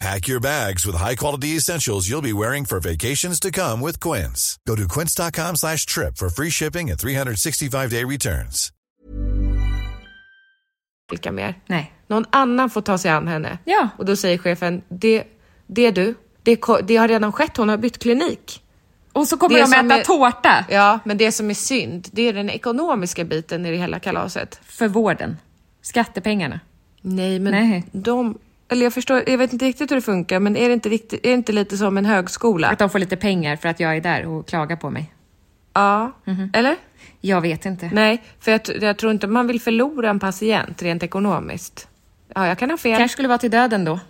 S4: Pack your bags with high-quality essentials you'll be wearing for vacations to come with Quince. Go to quince.com slash trip for free shipping and 365-day returns.
S2: mer.
S1: Nej.
S2: Någon annan får ta sig an henne.
S1: Ja.
S2: Och då säger chefen, det, det är du. Det, ko- det har redan skett, hon har bytt klinik.
S1: Och så kommer
S2: Det
S1: de
S2: som
S1: äta
S2: är-
S1: tårta
S2: Ja, men det som är synd, det är den ekonomiska biten i det hela kalaset.
S1: för vården. Skattepengarna.
S2: Nej, men
S1: Nej.
S2: de... Eller jag förstår, jag vet inte riktigt hur det funkar, men är det inte, riktigt, är det inte lite som en högskola?
S1: Att de får lite pengar för att jag är där och klagar på mig.
S2: Ja,
S1: Mhm.
S2: eller?
S1: Jag vet inte.
S2: Nej, för jag, tr- jag tror inte man vill förlora en patient rent ekonomiskt. Ja, jag kan ha fel.
S1: Kanske skulle vara till döden då.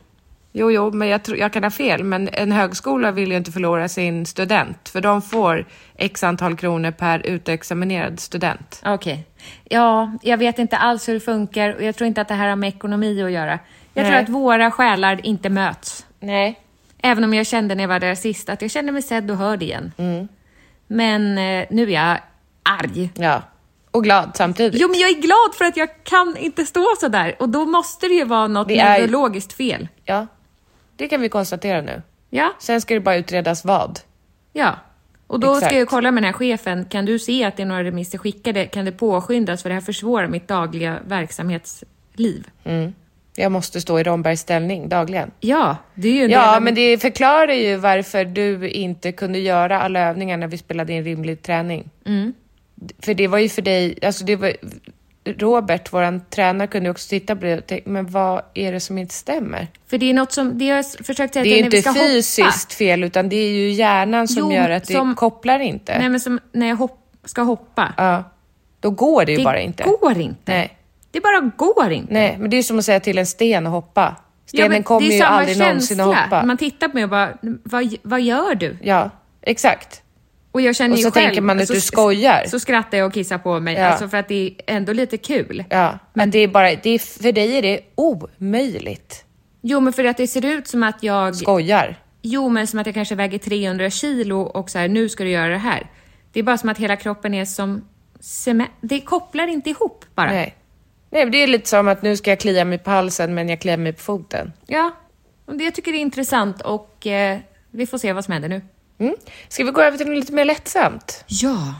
S2: Jo, jo, men jag, tror- jag kan ha fel. Men en högskola vill ju inte förlora sin student, för de får x antal kronor per utexaminerad student.
S1: Okej. Ja, jag vet inte alls hur det funkar och jag tror inte att det här har med ekonomi att göra. Jag tror
S2: Nej.
S1: att våra själar inte möts.
S2: Nej.
S1: Även om jag kände när jag var där sist att jag kände mig sedd och hörd igen.
S2: Mm.
S1: Men eh, nu är jag arg.
S2: Ja. Och glad samtidigt.
S1: Jo, men jag är glad för att jag kan inte stå så där och då måste det ju vara något
S2: Det är-
S1: neurologiskt fel.
S2: Ja. Det kan vi konstatera nu.
S1: Ja,
S2: Sen ska det bara utredas vad.
S1: ja. Och då
S2: Exakt.
S1: ska jag kolla med den här chefen. Kan du se att det är några remisser skickade? Kan det påskyndas? För det här försvårar mitt dagliga verksamhetsliv.
S2: Jag måste stå i Rombergs ställning dagligen.
S1: Ja, det är ju en del
S2: Ja,
S1: av-
S2: men det förklarar ju varför du inte kunde göra alla övningar när vi spelade in rimlig träning.
S1: Mm.
S2: För det var ju för dig, alltså det var, Robert, våran tränare, kunde ju också titta på det och tänka, men vad är det som inte stämmer?
S1: För det är något som, det har jag försökt säga
S2: Det är ju
S1: till när vi
S2: inte
S1: ska
S2: fysiskt
S1: hoppa.
S2: fel, utan det är ju hjärnan som
S1: Jo,
S2: gör att det
S1: som-
S2: kopplar inte.
S1: Nej men som när jag hopp, ska hoppa.
S2: ja. Då går det ju bara inte.
S1: går inte.
S2: Nej.
S1: Det bara går inte.
S2: Nej, men det är ju som att säga till en sten att hoppa.
S1: Ja,
S2: Stenen
S1: men
S2: kommer
S1: det är
S2: ju
S1: samma
S2: aldrig någonsin att
S1: känsla.
S2: hoppa.
S1: Man tittar på mig och bara, vad, vad gör du?
S2: Ja, exakt.
S1: Och jag känner
S2: Och
S1: ju
S2: så
S1: själv,
S2: tänker man att
S1: så-
S2: du skojar.
S1: Så skrattar jag och kissar på mig,
S2: Ja.
S1: alltså för att det är ändå lite kul.
S2: Ja, men det är bara, det är, för dig är det omöjligt.
S1: Jo men för att det ser ut som att jag,
S2: Skojar.
S1: jo men som att jag kanske väger 300 kilo och så här, nu ska du göra det här. Det är bara som att hela kroppen är som cement, det kopplar inte ihop bara.
S2: Nej. Nej, men det är lite som att nu ska jag klia mig på halsen, men jag kliar mig på foten.
S1: Ja, och det jag tycker jag är intressant och eh, vi får se vad som händer nu.
S2: Mm. Ska vi gå över till något lite mer lättsamt?
S1: Ja.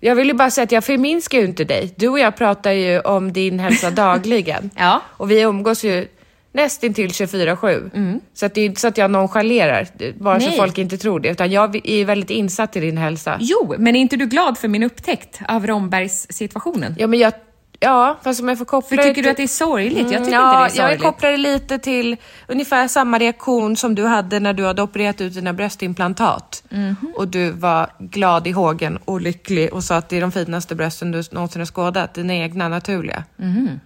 S2: Jag vill ju bara säga att jag förminskar ju inte dig. Du och jag pratar ju om din hälsa dagligen.
S1: Ja.
S2: Och vi umgås ju nästintill 24-7. Så att det är ju inte så att jag nonchalerar, bara så
S1: Mm. Nej.
S2: folk inte tror det. Utan jag är ju väldigt insatt i din hälsa.
S1: Jo, men är inte du glad för min upptäckt av Rombergs-situationen?
S2: Ja, men jag... Ja, fast om jag får koppla
S1: För
S2: det
S1: tycker du
S2: till-
S1: att det är sorgligt? Jag tycker
S2: Mm, ja,
S1: inte det är sorgligt.
S2: Jag kopplar det lite till ungefär samma reaktion som du hade när du hade opererat ut dina bröstimplantat.
S1: Mhm.
S2: Och du var glad i hågen och lycklig och sa att det är de finaste brösten du någonsin har skådat, dina egna naturliga.
S1: Mhm.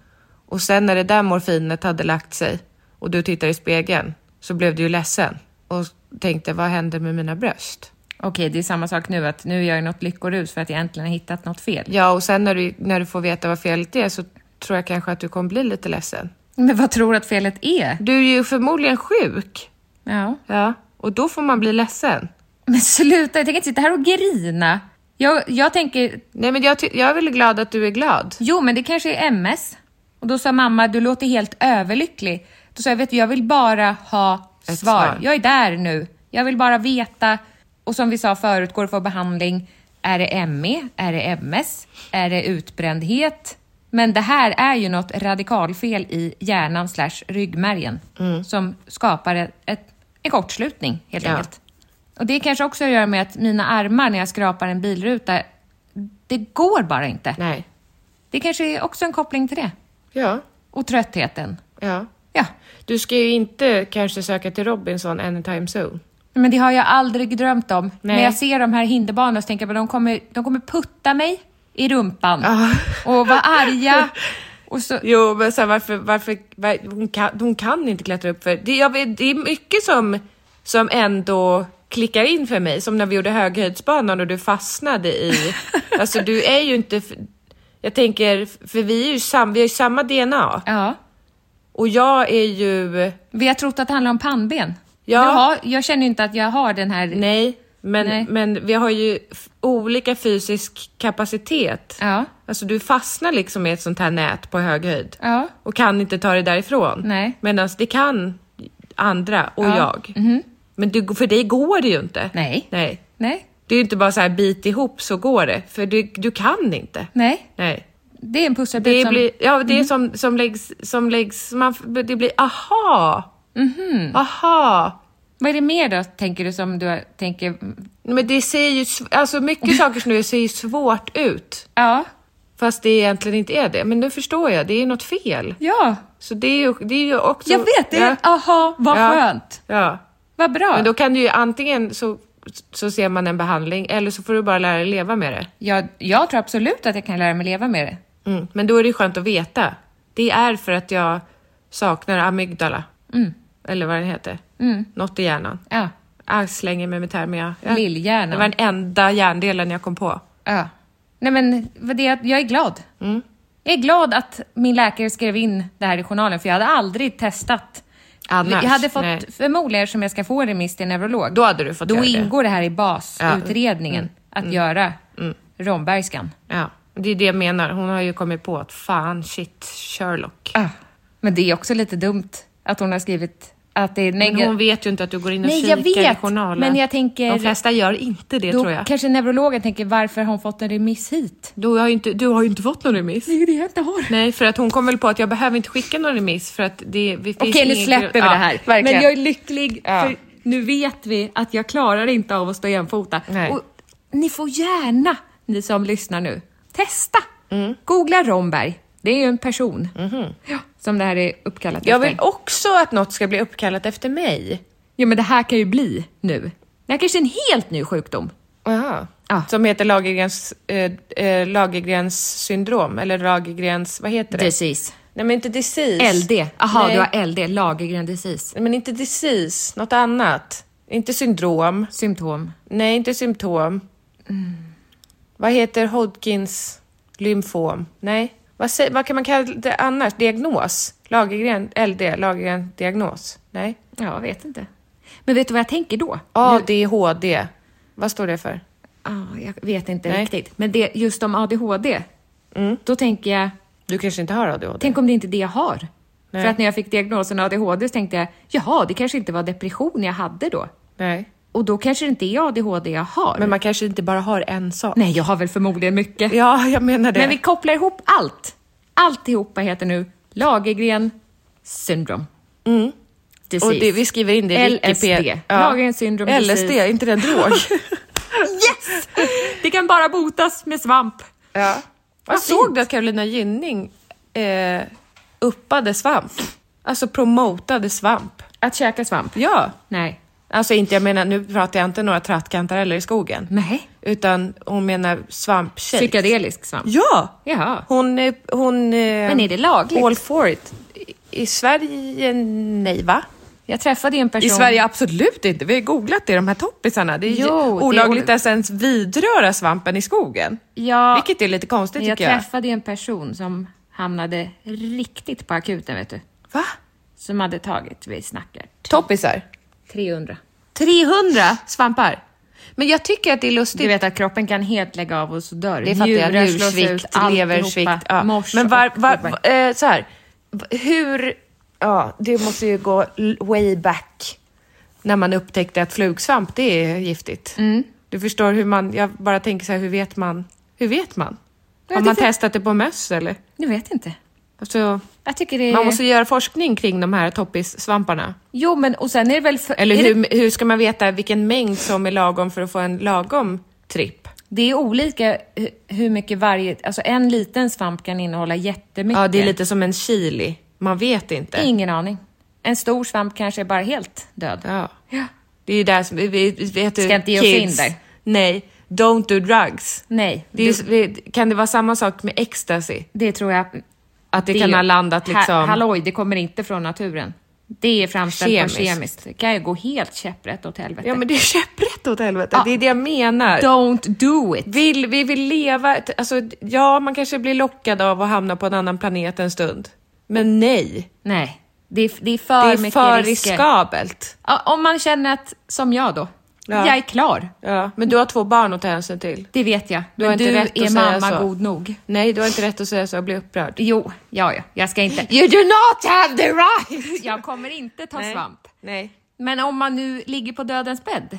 S2: Och sen när det där morfinet hade lagt sig och du tittar i spegeln så blev du ju ledsen och tänkte, vad händer med mina bröst?
S1: Okej, det är samma sak nu, att nu gör jag något lyckorus för att jag äntligen har hittat något fel.
S2: Ja, och sen när du, när du får veta vad felet är så tror jag kanske att du kommer bli lite ledsen.
S1: Men vad tror du att felet är?
S2: Du är ju förmodligen sjuk.
S1: Ja.
S2: Ja, och då får man bli ledsen.
S1: Men sluta, jag tänker inte sitta här och grina. Jag, jag tänker,
S2: Nej, men jag, ty- jag är väl glad att du är glad.
S1: jo men det kanske är MS. Och då sa mamma, du låter helt överlycklig. Då sa jag, vet du, jag vill bara ha svar.
S2: Ett svar.
S1: Jag är där nu. Jag vill bara veta. Och som vi sa förut, går det att få behandling? Är det ME? Är det MS? Är det utbrändhet? Men det här är ju något radikalfel i hjärnan slash ryggmärgen som skapar ett, ett, en kortslutning helt
S2: Mm. Ja.
S1: enkelt. Och det kanske också har att göra med att mina armar när jag skrapar en bilruta, det går bara inte.
S2: Nej.
S1: Det kanske är också en koppling till det.
S2: Ja,
S1: Och tröttheten.
S2: ja.
S1: Ja,
S2: Du ska ju inte kanske söka till Robinson anytime soon.
S1: men det har jag aldrig drömt om.
S2: Nej.
S1: När jag ser de här hinderbanorna så tänker jag att de kommer, de kommer putta mig i rumpan och vara arga. Och så,
S2: Jo, men sen varför, varför, var, hon, kan, hon kan inte klättra upp för det, jag, vet- det är mycket som, som ändå klickar in för mig, som när vi gjorde höghöjdsbanan och du fastnade i, alltså du är ju inte, f- jag tänker, för vi är ju sam, vi har ju samma DNA
S1: ja.
S2: och jag är ju,
S1: Vi har trott att det handlar om pannben.
S2: Ja.
S1: Jag, har, jag känner ju inte att jag har den här...
S2: Nej, men,
S1: Nej.
S2: men vi har ju f- olika fysisk kapacitet.
S1: Ja.
S2: Alltså du fastnar liksom i ett sånt här nät på hög höjd
S1: Ja.
S2: och kan inte ta dig därifrån.
S1: Nej.
S2: Medan det kan andra och jag. Men du, för dig går det ju inte.
S1: Mhm. Nej.
S2: Nej.
S1: Nej.
S2: Det är ju inte bara så här bit ihop så går det, för du, du kan inte.
S1: Nej.
S2: Nej.
S1: Det är en pusselbit
S2: Det,
S1: som... Mhm.
S2: blir, ja, det är som,
S1: Mhm.
S2: som läggs, som läggs man, f- det blir aha, aha,
S1: Vad är det mer då, tänker du, som du har- tänker...
S2: Men det ser ju, sv- alltså mycket saker som nu ser ju svårt ut.
S1: Ja.
S2: Fast det egentligen inte är det. Men nu förstår jag, det är något fel.
S1: Ja.
S2: Så det är ju, det är ju också...
S1: Jag vet! Det
S2: Ja.
S1: är, aha, vad
S2: Ja.
S1: skönt!
S2: Ja.
S1: Vad bra!
S2: Men då kan du ju antingen så, så ser man en behandling eller så får du bara lära dig leva med det.
S1: jag, jag tror absolut att jag kan lära mig leva med det.
S2: Mm. Men då är det ju skönt att veta. Det är för att jag saknar amygdala.
S1: Mm.
S2: Eller vad den heter. Något i hjärnan.
S1: Ja.
S2: Jag slänger mig med termer. jag- jag-
S1: Lillhjärnan.
S2: Det var den enda hjärndelen jag kom på.
S1: Ja. Nej men, vad det är, att jag är glad.
S2: Mm.
S1: Jag är glad att min läkare skrev in det här i journalen, för jag hade aldrig testat.
S2: Annars,
S1: jag hade fått,
S2: nej.
S1: förmodligen som jag ska få remiss till neurolog,
S2: Då hade du fått
S1: då
S2: göra det. Mm.
S1: ingår det. här i basutredningen, att göra rombergskan.
S2: Ja. Det är det jag menar. Hon har ju kommit på att fan, shit, Sherlock.
S1: Ja. Men det är också lite dumt att hon har skrivit att det är
S2: Men
S1: negativt.
S2: hon vet ju inte att du går in och
S1: Nej,
S2: kikar
S1: jag
S2: i
S1: vet,
S2: journalen.
S1: men jag tänker-
S2: De flesta gör inte det
S1: Då
S2: tror jag.
S1: kanske neurologen tänker, varför har hon fått en remiss hit?
S2: Du har, ju inte, du har ju inte fått någon remiss.
S1: Det är det jag inte har.
S2: Nej, för att hon kom väl på att jag behöver inte skicka någon remiss för att det, det finns
S1: Okej, nu
S2: ingen
S1: släpper vi
S2: grund-
S1: det här.
S2: Ja, verkligen.
S1: Men jag är lycklig,
S2: Ja.
S1: för nu vet vi att jag klarar inte av att stå jämfota.
S2: Nej.
S1: Och ni får gärna, ni som lyssnar nu, testa!
S2: Mm.
S1: Googla Romberg. Det är ju en person ja, som det här är uppkallat
S2: Mhm. jag
S1: efter.
S2: vill också att något ska bli uppkallat efter mig.
S1: Ja, men det här kan ju bli nu. Det här kanske är en helt ny sjukdom.
S2: Aha.
S1: Ja.
S2: Som heter Lagergrens, eh, eh, Lagergrens syndrom, eller Lagergrens, vad heter det?
S1: Disease.
S2: Nej, men inte disease.
S1: LD. Aha,
S2: Nej.
S1: du har LD, Lagergren disease.
S2: Nej, Men inte disease, något annat. Inte syndrom.
S1: Symptom.
S2: Nej, inte symptom. Vad heter Hodgkins lymfom? Nej. Vad, sä- vad kan man kalla det annars? Diagnos? Lagergren, LD, Lagergren, diagnos? Nej.
S1: Ja, jag vet inte. Men vet du vad jag tänker då?
S2: ADHD. Vad står det för?
S1: Ah, jag vet inte
S2: Nej. Mm.
S1: riktigt. Men det, just om ADHD, då tänker jag,
S2: Du kanske inte har ADHD?
S1: tänk om det inte är det jag har?
S2: Nej.
S1: För att när jag fick diagnosen ADHD så tänkte jag, jaha, det kanske inte var depression jag hade då.
S2: Nej.
S1: Och då kanske det inte är ADHD jag har.
S2: Men man kanske inte bara har en sak?
S1: Nej, jag har väl förmodligen mycket.
S2: Ja, jag menar det.
S1: Men vi kopplar ihop allt. Alltihopa heter nu Lagergren syndrom. Disease.
S2: Mm. Och det, vi skriver in det i Wikipedia.
S1: LSD. Lagergrens syndrom.
S2: LSD,
S1: disease.
S2: är inte den drog?
S1: Yes! Det kan bara botas med svamp.
S2: ja. Jag
S1: Vad
S2: såg
S1: fint.
S2: du att Carolina Gynning eh, uppade svamp? Alltså promotade svamp.
S1: Att käka svamp?
S2: Ja.
S1: Nej.
S2: Alltså inte, jag menar, nu pratar jag inte några trattkantareller i skogen.
S1: Nej.
S2: Utan hon menar svampshake.
S1: Psykedelisk svamp?
S2: Ja!
S1: Jaha.
S2: Hon, eh, hon...
S1: Men är det lagligt?
S2: All for it. I, I Sverige, nej va?
S1: Jag träffade ju en person...
S2: I Sverige absolut inte. Vi har googlat det, de här toppisarna. Det är
S1: Jo,
S2: ju
S1: det är
S2: olagligt
S1: ol-
S2: att ens vidröra svampen i skogen.
S1: Ja.
S2: Vilket är lite konstigt
S1: Men jag
S2: tycker jag.
S1: träffade ju en person som hamnade riktigt på akuten, vet du.
S2: Va?
S1: Som hade tagit, vi snackar,
S2: Toppisar?
S1: 300.
S2: 300 svampar? Men jag tycker att det är lustigt.
S1: Du vet att kroppen kan helt lägga av och så dör
S2: Det fattar jag.
S1: Njurar slås
S2: Njursvikt,
S1: ut, alltihopa,
S2: leversvikt. Ja.
S1: mors
S2: Men var,
S1: och
S2: var,
S1: tobak.
S2: var, eh, så här. V- Hur... Ja, det måste ju gå l- way back. När man upptäckte att flugsvamp, det är giftigt.
S1: Mm.
S2: Du förstår hur man... Jag bara tänker så här, hur vet man? Hur vet man?
S1: Ja,
S2: Har
S1: det
S2: man
S1: fi-
S2: testat det på möss eller?
S1: Nu vet jag inte.
S2: Alltså,
S1: Jag tycker det är...
S2: man måste göra forskning kring de här toppissvamparna.
S1: Jo, men och sen är det väl... För...
S2: Eller
S1: är
S2: hur,
S1: Det...
S2: hur ska man veta vilken mängd som är lagom för att få en lagom tripp?
S1: det är olika hu- hur mycket varje... Alltså en liten svamp kan innehålla jättemycket.
S2: Ja, det är lite som en chili. Man vet inte.
S1: Ingen aning. En stor svamp kanske är bara helt död.
S2: Ja. Det är ju där som, vi- vi, vet du,
S1: Ska inte ge oss
S2: kids.
S1: in där.
S2: Nej, don't do drugs.
S1: Nej,
S2: Det är, ju- vi- kan det vara samma sak med ecstasy?
S1: det tror jag.
S2: Att det, kan ha landat liksom...
S1: Ha, halloj, det kommer inte från naturen. Det är framställt
S2: Kemiskt.
S1: kemiskt. på kemiskt. Det kan ju gå helt käpprätt åt helvete.
S2: ja men det är käpprätt åt helvete,
S1: Ja.
S2: det är det jag menar.
S1: Don't do it!
S2: Vill, vi vill leva, ett- alltså ja man kanske blir lockad av att hamna på en annan planet en stund. Men nej,
S1: Nej, det är, det är för
S2: det är
S1: mycket
S2: för
S1: risker.
S2: riskabelt.
S1: Ja, om man känner att, som jag då,
S2: Ja.
S1: jag är klar.
S2: Ja, men du har två barn att ta hänsyn till.
S1: Det vet jag.
S2: Du
S1: men
S2: har inte
S1: du
S2: rätt att
S1: är
S2: säga
S1: mamma
S2: så.
S1: god nog.
S2: Nej, du har inte rätt att säga så, jag blir upprörd.
S1: Jo, ja, ja, jag ska inte.
S2: You do not have the right!
S1: Jag kommer inte ta svamp.
S2: Nej.
S1: Men om man nu ligger på dödens bädd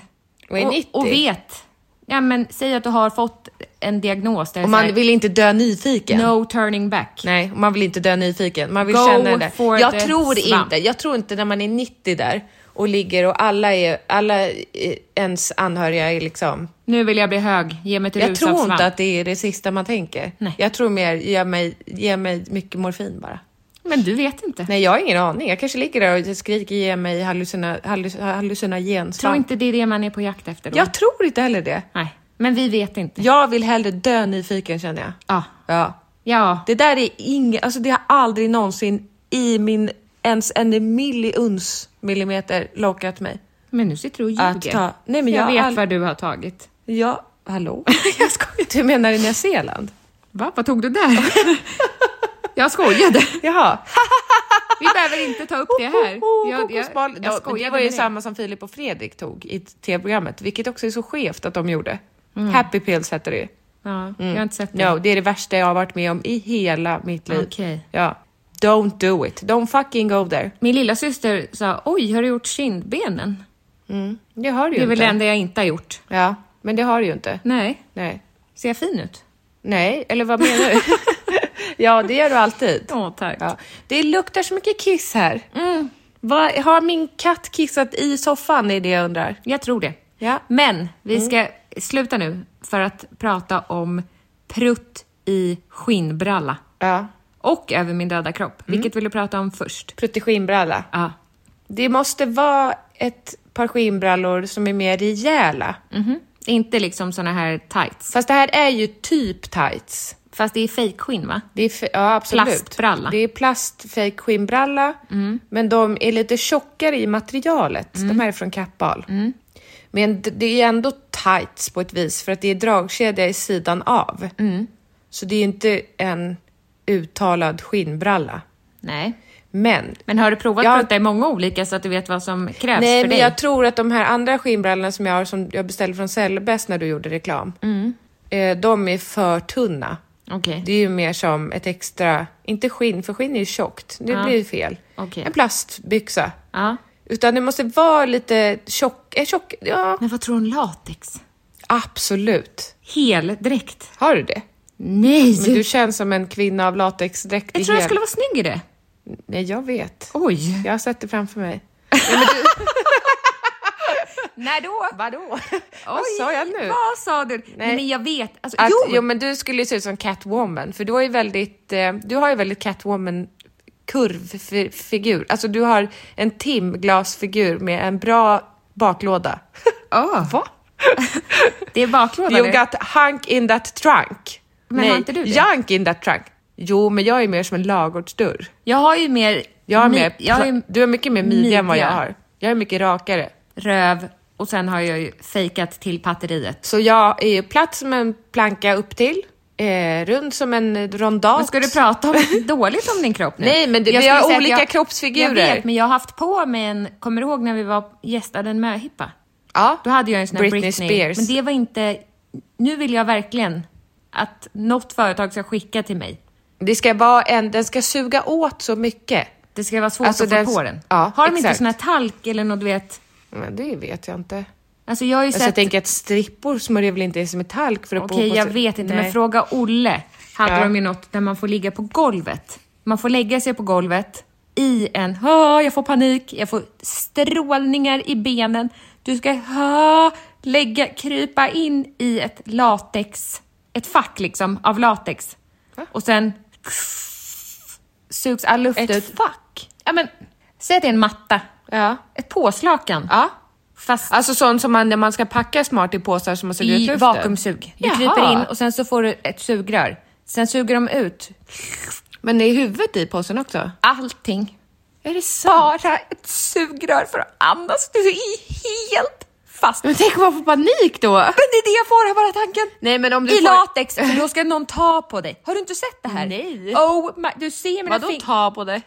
S2: Och är 90.
S1: och, och vet. Ja, men säg att du har fått en diagnos där det är
S2: Och
S1: så här,
S2: man vill inte dö nyfiken.
S1: No turning back.
S2: Nej, och man vill inte dö nyfiken. Man vill
S1: Go
S2: känna det.
S1: for
S2: Jag
S1: the
S2: tror
S1: svamp.
S2: inte, jag tror inte när man är 90 där och ligger och alla, är, alla i- ens anhöriga är liksom...
S1: Nu vill jag bli hög. Ge mig till
S2: Jag
S1: rusad
S2: tror inte
S1: svamp.
S2: att det är det sista man tänker.
S1: Nej.
S2: Jag tror mer, ge mig, ge mig mycket morfin bara.
S1: Men du vet inte.
S2: Nej, jag har ingen aning. Jag kanske ligger där och skriker ge mig hallucina, halluc, hallucinogen
S1: Tror
S2: svamp.
S1: inte det är det man är på jakt efter då?
S2: Jag tror inte heller det.
S1: Nej, men vi vet inte.
S2: Jag vill hellre dö nyfiken känner jag.
S1: Ja.
S2: Ja.
S1: Ja.
S2: Det där är inget, alltså det har aldrig någonsin i min ens en millions millimeter lockat mig.
S1: Men nu sitter du och
S2: Att
S1: ljuger.
S2: ta- Nej, men jag
S1: vet
S2: all-
S1: vad du har tagit.
S2: Ja, hallå? jag skojar. Du menar i Nya Zeeland?
S1: Va? Vad tog du där? jag skojade.
S2: Jaha.
S1: Vi behöver inte ta upp det här. Jag, jag, jag,
S2: jag
S1: skojade
S2: det var ju
S1: med dig.
S2: samma som Filip och Fredrik tog i tv-programmet, vilket också är så skevt att de gjorde.
S1: Mm.
S2: Happy pills hette det ju.
S1: Ja, Jag har inte sett det.
S2: Mm. No, det är det värsta jag har varit med om i hela mitt liv.
S1: Mm. Okej.
S2: Ja. Don't do it. Don't fucking go there.
S1: Min lilla syster sa, oj, har du gjort kindbenen?
S2: Det har du
S1: Mm.
S2: ju
S1: Det är väl
S2: inte.
S1: det enda jag inte har gjort.
S2: Ja, men det har du ju inte.
S1: Nej.
S2: Nej.
S1: Ser jag fin ut?
S2: Nej, eller vad menar du? ja, det gör du alltid.
S1: Ja, Mm. tack.
S2: Ja. Det luktar så mycket kiss här. Vad- har min katt kissat i soffan? är det jag undrar.
S1: Jag tror det.
S2: Ja. Mm.
S1: Men vi ska sluta nu för att prata om prutt i skinnbralla
S2: Ja.
S1: och över min döda
S2: Mm.
S1: kropp. Vilket vill du prata om först?
S2: Prutt i skinnbralla.
S1: Ja.
S2: Det måste vara ett par skinnbrallor som är mer rejäla.
S1: Mhm. Inte liksom såna här tights.
S2: Fast det här är ju typ tights.
S1: Fast det är fejkskinn va?
S2: Det är f- ja, absolut.
S1: Plastbralla. Mm.
S2: Det är plast fake skinnbralla, men de är lite tjockare i materialet. De här är från Kappahl.
S1: Mm.
S2: Men d- det är ändå tights på ett vis, för att det är dragkedja i sidan av.
S1: Mm.
S2: Så det är inte en uttalad skinnbralla.
S1: Nej.
S2: Men
S1: Men har du provat
S2: Jag-
S1: prutta i många olika så att du vet vad som krävs
S2: Nej,
S1: för
S2: men
S1: dig?
S2: jag tror att de här andra skinnbrallorna som jag har, som jag beställde från Cellbest när du gjorde reklam,
S1: Mm.
S2: eh, de är för tunna.
S1: Okej.
S2: Det är ju mer som ett extra, inte skinn, för skinn är ju tjockt, det blir ju fel.
S1: Okej.
S2: En plastbyxa.
S1: Ja.
S2: Utan det måste vara lite tjock, eh, tjock ja,
S1: Men vad tror du om latex?
S2: absolut.
S1: Heldräkt?
S2: Har du det?
S1: Nej!
S2: Men du känns som en kvinna av latexdräkt i
S1: Jag tror jag
S2: hel-
S1: skulle vara snygg i det.
S2: Nej, jag vet.
S1: Oj!
S2: Jag har sett det framför mig.
S1: När då?
S2: Vadå? Vad sa jag nu?
S1: Vad sa du? Nej,
S2: Nej.
S1: men jag vet. Alltså,
S2: Att, jo.
S1: jo,
S2: men du skulle ju se ut som Catwoman, för du har ju väldigt, eh, du har ju väldigt Catwoman kurvfigur. Alltså du har en timglasfigur med en bra baklåda.
S1: Ah. det är baklåda
S2: You
S1: det.
S2: got hunk in that trunk.
S1: Men har inte du det?
S2: junk in that trunk. Jo, men jag är mer som en lagårdsdörr.
S1: Jag har ju mer...
S2: Jag har
S1: mi-
S2: mer,
S1: jag har ju
S2: du har mycket mer midja, än vad jag
S1: midja,
S2: har. Jag är mycket rakare.
S1: Röv och sen har jag ju fejkat till patteriet.
S2: Så jag är ju platt som en planka upp till, eh, rund som en rondat.
S1: Men ska du prata om dåligt om din kropp nu?
S2: Nej, men du-
S1: Jag
S2: vi har
S1: skulle säga att
S2: olika kroppsfigurer.
S1: Jag vet, men jag har haft på mig en... Kommer du ihåg när vi var gästade en möhippa?
S2: Ja.
S1: Då hade jag en sån här
S2: Britney
S1: Britney,
S2: Spears.
S1: Men det var inte... Nu vill jag verkligen att något företag ska skicka till mig.
S2: Det ska vara en, den ska suga åt så mycket.
S1: Det ska vara svårt
S2: Alltså,
S1: att få
S2: den-
S1: på den.
S2: ja,
S1: har de inte
S2: exakt.
S1: sån här talk eller något, du vet?
S2: Men det vet jag inte.
S1: Alltså jag har ju
S2: Alltså, jag
S1: sett...
S2: tänker att strippor smörjer väl inte som metallk för att
S1: Okej,
S2: på
S1: jag
S2: sig-
S1: vet inte,
S2: Nej.
S1: men fråga Olle. Hade
S2: Ja.
S1: de ju något där man får ligga på golvet. Man får lägga sig på golvet i en... Ha, jag får panik, jag får strålningar i benen. Du ska ha, lägga, krypa in i ett latex... Ett fack liksom, av latex. Och sen sugs all luft
S2: Ett
S1: ut. fack? Ja, men säg att det är en matta.
S2: Ja.
S1: Ett påslakan.
S2: Ja.
S1: Fast
S2: Alltså sånt som man, när man ska packa smart i påsar som man suger ut
S1: i
S2: luften.
S1: vakuumsug. Du
S2: Jaha.
S1: kryper in och sen så får du ett sugrör. Sen suger de ut
S2: Men är huvudet i påsen också?
S1: allting.
S2: Är det sant?
S1: Bara ett sugrör för att andas. Du är helt fast.
S2: Men tänk om man får panik då?
S1: Men det är det jag får här bara tanken.
S2: Nej, men om du
S1: I
S2: får-
S1: latex, för då ska någon ta på dig. Har du inte sett det här?
S2: Nej.
S1: Oh my, du ser mina
S2: Vadå
S1: fingrar.
S2: ta på det?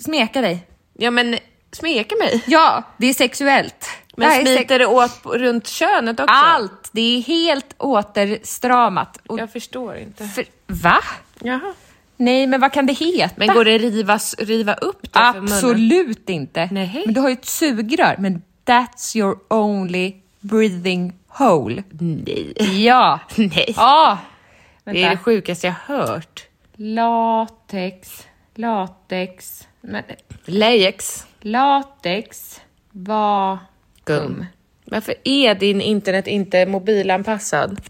S1: Smeka dig.
S2: Ja men smeka mig.
S1: Ja, det är sexuellt.
S2: Men
S1: det här är sex-
S2: smiter det åt på- runt könet också?
S1: Allt! Det är helt återstramat. Och
S2: Jag förstår inte.
S1: för, va?
S2: Jaha.
S1: Nej, men vad kan det heta?
S2: Men går det rivas, riva upp det för munnen?
S1: Absolut inte.
S2: Nej.
S1: Men du har ju ett sugrör. Men that's your only breathing hole. Nej. Ja.
S2: Nej.
S1: Ja.
S2: Det är det
S1: Vänta.
S2: sjukaste jag hört.
S1: Latex. Latex. Men,
S2: Latex.
S1: latex. Var gum.
S2: Varför är din internet inte mobilanpassad?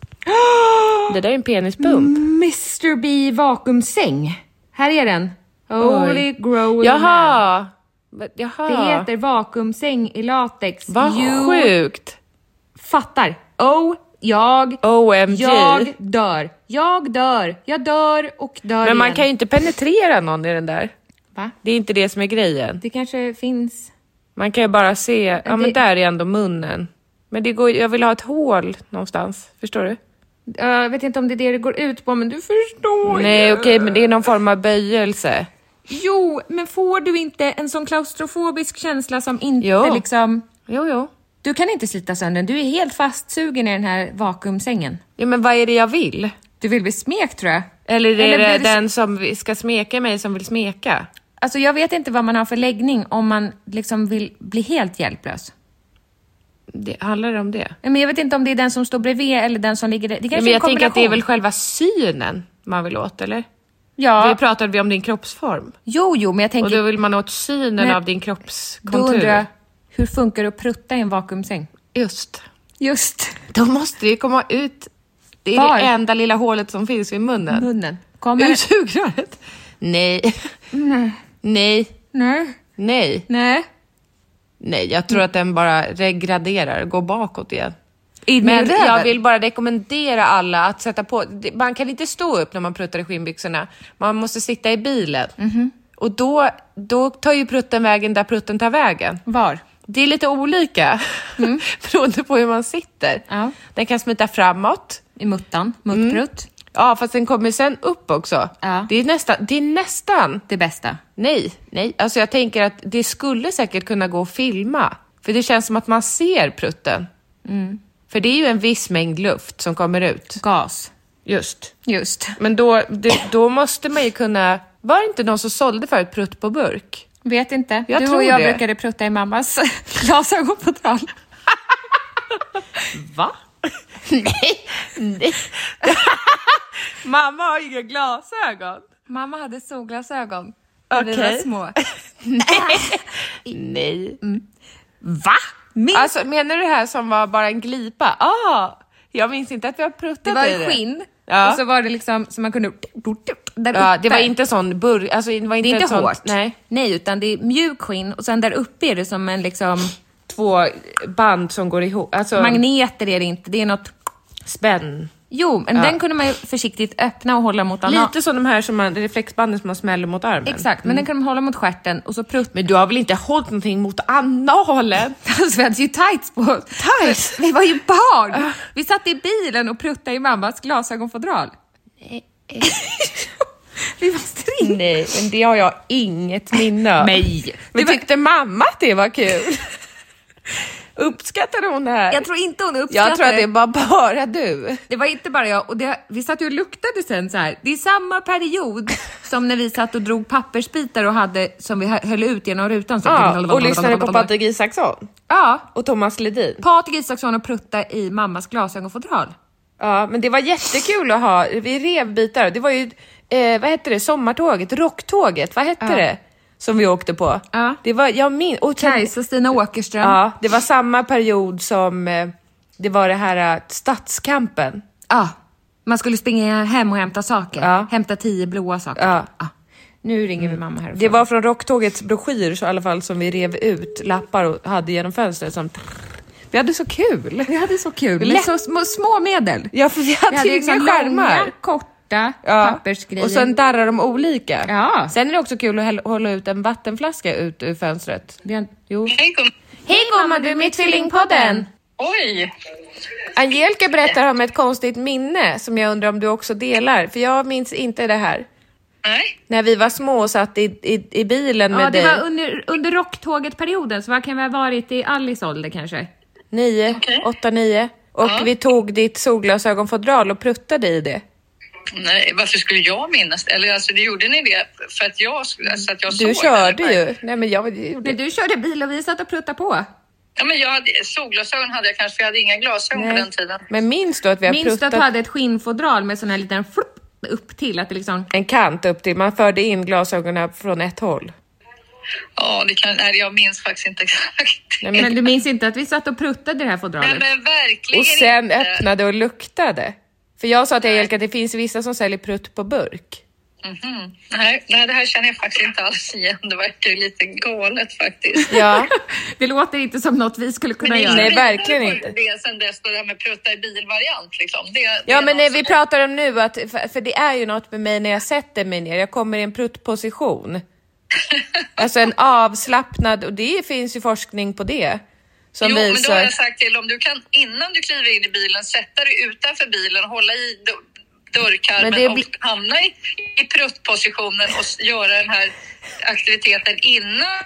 S2: Det där är en penispump.
S1: Mr B vakuumsäng. Här är den. Holy
S2: Oj.
S1: Growing Man.
S2: Jaha! Va- Jaha.
S1: Det heter vakuumsäng i latex.
S2: Vad
S1: you
S2: sjukt!
S1: fattar. Oh, jag,
S2: OMG.
S1: jag dör. Jag dör. Jag dör och dör
S2: Men man
S1: igen.
S2: kan ju inte penetrera någon i den där.
S1: Va?
S2: Det är inte det som är grejen.
S1: Det kanske finns...
S2: Man kan ju bara se, ja men där är ändå munnen. Men det går, jag vill ha ett hål någonstans, förstår du?
S1: Jag vet inte om det är det det går ut på, men du förstår
S2: Nej
S1: ju.
S2: okej, men det är någon form av böjelse.
S1: Jo, men får du inte en sån klaustrofobisk känsla som inte
S2: Jo.
S1: liksom...
S2: Jo, jo.
S1: Du kan inte slita sönder den. Du är helt fastsugen i den här vakuumsängen.
S2: Ja, men vad är det jag vill?
S1: Du vill bli smekt tror jag.
S2: Eller är
S1: Eller
S2: det
S1: blir det-
S2: den som vi- ska smeka mig som vill smeka?
S1: Alltså jag vet inte vad man har för läggning om man liksom vill bli helt hjälplös.
S2: Det, handlar det om det?
S1: Men jag vet inte om det är den som står bredvid eller den som ligger där. Det kanske
S2: Ja, men
S1: är en
S2: jag tänker att det är väl
S1: kombination.
S2: själva synen man vill åt, eller? Det
S1: Ja,
S2: pratade vi om din kroppsform.
S1: jo, jo, men jag
S2: Och
S1: tänker...
S2: då vill man åt synen
S1: Nej.
S2: av din
S1: Då undrar jag,
S2: kroppskontur.
S1: hur funkar det att prutta i en vakuumsäng?
S2: Just.
S1: Just
S2: Då måste det ju komma ut. Det är
S1: Var? Mm.
S2: det enda lilla hålet som finns vid munnen.
S1: munnen. Kommer...
S2: Ur sugröret? Nej. Nej.
S1: Nej.
S2: Nej.
S1: Nej.
S2: Nej, jag tror att den bara regraderar, går bakåt igen.
S1: In i
S2: Men
S1: röven.
S2: jag vill bara rekommendera alla att sätta på... det- Man kan inte stå upp när man pruttar i skinnbyxorna. Man måste sitta i bilen.
S1: Mhm.
S2: Och då, då tar ju prutten vägen där prutten tar vägen.
S1: Var?
S2: Det är lite olika beroende på hur man sitter.
S1: Mm. Ja.
S2: Den kan smita framåt.
S1: I muttan. Muttprutt.
S2: Ja, fast den kommer sen upp också.
S1: Ja.
S2: Det är nästan... Det är nästan
S1: Det bästa.
S2: Nej, nej. Alltså jag tänker att det skulle säkert kunna gå att filma. För det känns som att man ser prutten. För det är ju en viss mängd luft som kommer ut.
S1: Gas.
S2: Just.
S1: Just.
S2: Men då, det, då måste man ju kunna... Var det inte någon som sålde förut prutt på burk?
S1: Vet inte.
S2: Jag
S1: du
S2: tror
S1: och jag
S2: det.
S1: brukade prutta i mammas glasögonfodral.
S2: Va? nej, nej. Mamma har inga glasögon.
S1: Mamma hade solglasögon när vi var
S2: Okej.
S1: små.
S2: Nej.
S1: Va? Min...
S2: Alltså menar du det här som var bara en glipa? Ah, jag minns inte att vi har pruttat
S1: det var
S2: i
S1: i skinn
S2: Ja.
S1: och så var det liksom som man kunde... Där
S2: Ja, det
S1: uppe.
S2: var inte sån burk, alltså det var
S1: Det
S2: inte,
S1: är inte
S2: ett sånt,
S1: hårt.
S2: Nej.
S1: nej, utan det är mjuk skinn och sen där uppe är det som en liksom...
S2: Två band som går ihop, alltså
S1: Magneter är det inte, det är något...
S2: spänn.
S1: Jo, men den kunde man ju försiktigt öppna och hålla mot anal.
S2: Lite som de här som man, reflexbanden som man smäller mot armen.
S1: Exakt, men den kunde man hålla mot stjärten och så prutt...
S2: Men du har väl inte hållit någonting mot analen?
S1: Alltså, vi hade ju tights på oss.
S2: Tights?
S1: Vi var ju barn! Vi satt i bilen och pruttade i mammas glasögonfodral. vi var string.
S2: Nej, men det har jag inget minne av.
S1: Nej.
S2: Men
S1: Det var-
S2: tyckte mamma att det var kul? Uppskattade hon det här?
S1: Jag tror inte hon uppskattade
S2: jag tror att det var bara du.
S1: Det var inte bara jag och det, vi satt ju och luktade sen så här. Det är samma period som när vi satt och drog pappersbitar och hade som vi hö- höll ut genom rutan. Så
S2: Ja, och lyssnade på Patrik Isaksson
S1: Ja,
S2: och Thomas Ledin.
S1: Patrik Isaksson och prutta i mammas glasögonfodral.
S2: Ja, men det var jättekul att ha. Vi rev bitar. Det var ju, eh, vad hette det, sommartåget, rocktåget, vad hette det? Som vi åkte på.
S1: Ja.
S2: Det var, jag min- och sen-
S1: Kajsa Stina Åkerström.
S2: Ja, det var samma period som eh, det var det här eh, stadskampen.
S1: Ja. Man skulle springa hem och hämta saker.
S2: Ja.
S1: Hämta tio blåa saker.
S2: Ja. Mm.
S1: Nu ringer vi mamma här.
S2: Det var från rocktågets broschyr så i alla fall som vi rev ut lappar och hade genom fönstret som... Vi hade så kul!
S1: Vi hade så kul. Med
S2: Lätt.
S1: så små, små medel.
S2: Ja, för vi hade,
S1: Vi hade
S2: ju inga
S1: liksom
S2: skärmar.
S1: långa, korta
S2: Ja.
S1: pappersgrejer.
S2: Och sen darrar de olika.
S1: Ja.
S2: Sen är det också kul att hälla- hålla ut en vattenflaska ut ur fönstret.
S1: Vi har-
S2: Jo.
S5: Hej gumman!
S2: Hej gumman, du är med i Tvillingpodden!
S5: Oj!
S2: Angelica berättar om ett konstigt minne som jag undrar om du också delar, för jag minns inte det här.
S5: Nej.
S2: När vi var små och satt i, i, i bilen med
S1: Ja, det
S2: dig.
S1: var under, under rocktåget-perioden, så vad kan vi ha varit i Alice ålder kanske?
S2: Nio,
S5: Okej.
S2: åtta, nio. Och vi tog ditt solglasögonfodral och pruttade i det.
S5: Nej, varför skulle jag minnas? Eller alltså, det gjorde ni det för att jag, skulle- alltså, att jag
S2: Du
S5: såg?
S2: körde
S5: eller?
S2: ju. Nej men jag jag gjorde
S1: Nej, du körde bil och vi satt och pruttade på.
S5: Ja, men jag hade, solglasögon hade jag kanske, för jag hade inga glasögon på den tiden.
S2: Men minns du att vi har
S1: Minns du att
S2: pruttat
S1: du hade ett skinnfodral med sån här liten flupp upp till? Att det liksom...
S2: en kant upp till? Man förde in glasögonen från ett håll.
S5: Ja, det kan, nej, jag minns faktiskt inte exakt.
S1: Men, du minns inte att vi satt och pruttade i det här
S5: Nej,
S1: fodralet?
S5: men verkligen
S2: Och sen
S5: inte.
S2: öppnade och luktade. För jag sa till Angelica att det finns vissa som säljer prutt på burk.
S5: Mhm. Nej, nej, det här känner jag faktiskt inte alls igen. Det verkar ju lite galet faktiskt.
S2: Ja,
S1: Det låter inte som något vi skulle kunna
S5: det är
S1: göra.
S2: Nej,
S5: lite
S2: verkligen
S5: vidare
S2: inte.
S5: på Det sen dess, det där med prutta i bilvariant liksom. Det, det
S2: ja
S5: är
S2: men
S5: något
S2: eh, vi
S5: som-
S2: pratar om nu att, för, för det är ju något med mig när jag sätter mig ner, jag kommer i en pruttposition. Alltså en avslappnad, och det finns ju forskning på det. Som
S5: Jo, men då har
S2: visar...
S5: jag sagt till om du kan innan du kliver in i bilen sätta dig utanför bilen, hålla i dör- dörrkarmen
S2: Men det
S5: och
S2: blir-
S5: hamna i, i pruttpositionen och s- göra den här aktiviteten innan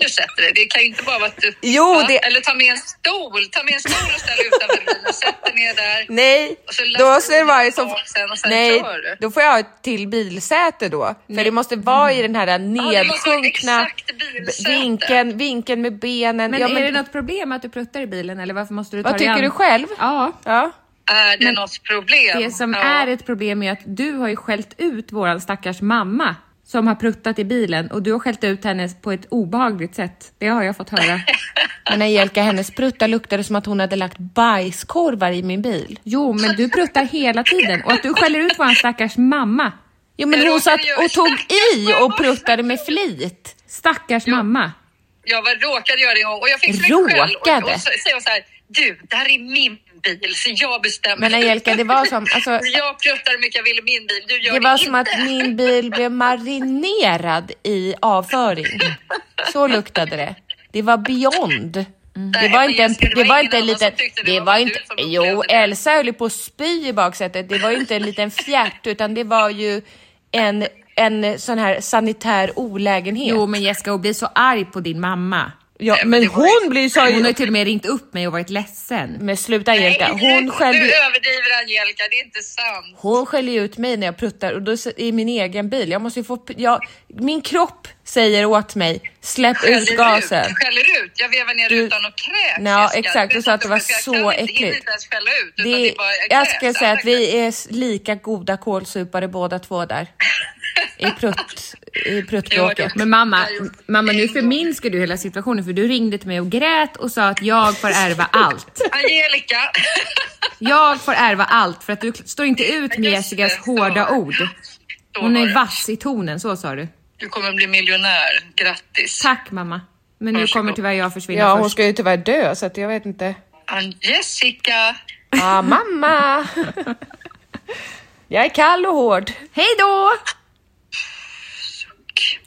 S5: du sätter dig. Det kan ju inte bara vara att du...
S2: Jo,
S5: Va?
S2: det-
S5: Eller ta med en stol, ta med en stol och ställ utanför bilen, sätt dig ner där.
S2: Nej,
S5: Och så lastar
S2: då
S5: du
S2: så är det
S5: dina
S2: varje som...
S5: barn sen och sen
S2: Nej,
S5: kör du.
S2: då får jag ha ett till bilsäte då. För det måste vara i den här
S5: Mm. det måste vara
S2: nedsjunkna
S5: exakt bilsäte.
S2: vinkeln, vinkeln med benen.
S1: Men
S2: Ja,
S1: är det något problem att du pruttar i bilen eller varför måste du ta
S2: Vad
S1: dig
S2: tycker
S1: an?
S2: du själv?
S1: Ja.
S2: Ja.
S5: Är det något problem?
S1: Det som
S5: Ja.
S1: är ett problem är att du har ju skällt ut våran stackars mamma som har pruttat i bilen och du har skällt ut henne på ett obehagligt sätt. Det har jag fått höra.
S2: Men Angelica, hennes prutta luktade som att hon hade lagt bajskorvar i min bil.
S1: Jo, men du pruttar hela tiden och att du skäller ut våran stackars mamma.
S2: Jo, men
S5: Ja,
S2: hon satt
S5: men jag-
S2: och tog i och pruttade med flit.
S1: Stackars mamma.
S5: Jag var råkade göra det en gång och jag fick så mycket
S2: Råkade?
S5: skäll. Och, och så säger jag så här, du, det här är min bil så jag bestämmer.
S2: Men Angelica, det var som... Alltså,
S5: Jag pruttar hur mycket jag vill i min bil, du gör
S2: det
S5: det,
S2: var
S5: inte.
S2: som att min bil blev marinerad i avföring. Så luktade det. Det var beyond. Det
S5: Nej,
S2: var
S5: men
S2: inte en,
S5: Jessica, det
S2: det
S5: var
S2: var
S5: ingen
S2: inte en
S5: annan som
S2: liten,
S5: tyckte det
S2: det
S5: var
S2: var
S5: du
S2: inte,
S5: som upplevde
S2: jo
S5: det.
S2: Elsa höll ju på att spy i baksätet. Det var ju inte en liten fjärt utan det var ju en, en eh, sån här sanitär olägenhet.
S1: Jo, men Jessica, hon blir så arg på din mamma.
S2: ja,
S5: Nej, men
S2: men
S5: det var
S2: hon blir ju Mm. så...
S1: Hon har ju till och med ringt upp mig och varit ledsen.
S2: Men sluta
S5: Nej,
S2: Angelica, hon
S5: nu-
S2: skällde ju
S5: Nu överdriver Angelica, det är inte sant.
S2: Hon skäller ju ut mig när jag pruttar och då s- i min egen bil. Jag måste ju få... p- Jag, min kropp säger åt mig, släpp ut
S5: Skäller
S2: gasen.
S5: Ut, skäller ut, jag vevar ner
S2: Du-
S5: rutan och kräks.
S2: Ja,
S5: Jessica.
S2: exakt. Du sa att det var
S5: Jag kan
S2: så
S5: inte- hinner
S2: äckligt.
S5: inte ens skälla ut, utan
S2: Det,
S5: det är bara- jag
S2: jag
S5: kräks.
S2: ska säga att vi är s- lika goda kålsupare båda två där. I prutt... I pruttbråket.
S1: Men mamma, mamma, nu förminskar du hela situationen för du ringde till mig och grät och sa att jag får ärva allt.
S5: Angelica!
S1: Jag får ärva allt för att du står inte ut med
S5: Just
S1: Jessicas
S5: det, så
S1: hårda
S5: var det.
S1: ord.
S5: Så
S1: Hon
S5: var
S1: är
S5: det.
S1: vass i tonen, så sa du.
S5: Du kommer bli miljonär, grattis.
S1: Tack mamma. Men nu
S5: Varsågod.
S1: kommer tyvärr jag försvinna
S2: Ja, hon
S1: först.
S2: ska ju tyvärr dö så att jag vet inte.
S5: An- Jessica!
S2: Ah, mamma! Jag är kall och hård.
S1: Hej då!